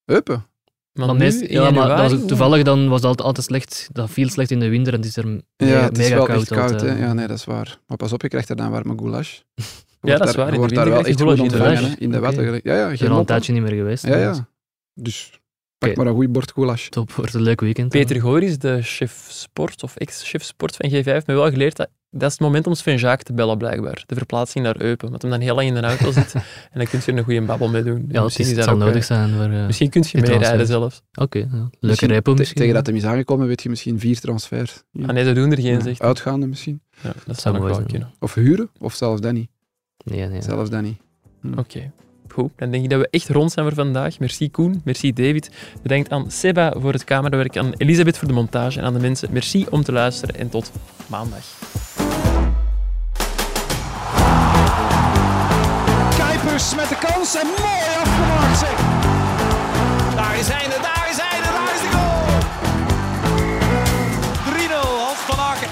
Heupen. Maar maar nu, meest- in ja, maar dat was januari, ook toevallig dan was dat altijd slecht. Dat viel slecht in de winter en het is er me- Ja, het is mega wel koud. eh. echt koud. altijd. Hè? Ja, nee, dat is waar. Maar pas op, je krijgt er dan warme goulash. Je dat wordt is waar, in Je de wordt daar winter wel krijg echt je goed goulash, ontvangen. hè, inderdaad. In de Oké. watten. Ja, ja, Ik ben geen er al een mop. tijdje niet meer geweest. Ja, dus ja. Dus pak Oké. maar een goed bord goulash. Top, wordt een leuk weekend. Peter Goor is de chef sport of ex-chef sport van G5. Heeft mij wel geleerd dat dat is het moment om Sven Jaak te bellen, blijkbaar. De verplaatsing naar Eupen. Want hem dan heel lang in de auto <laughs> zit en dan kun je er een goede babbel mee doen. Dus Ja, het, misschien is, het dat zal ook, nodig eh, zijn. maar, eh, Misschien kun je dit meerijden transfer. zelfs. Oké, ja. leuke Misschien repo te- misschien. Tegen dat ja. hem is aangekomen, weet je misschien vier transfers. Ja. Ah nee, ze doen er geen, Ja, zegt hij. Uitgaande misschien. Ja, dat zou zou nog mooi wel zijn. kunnen. Of huren, of zelfs Danny. Nee, nee. Zelfs Danny. Oké. Goed, dan denk ik dat we echt rond zijn voor vandaag. Merci Koen, merci David. Bedankt aan Seba voor het camerawerk, aan Elisabeth voor de montage en aan de mensen. Merci om te luisteren en tot maandag. Kuipers met de kans en mooi afgemaakt zeg. Daar is hij, daar is hij, daar is de goal. 3-0, Hans van Aken.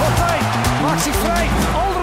Wat vrij, maakt zich vrij. Oh,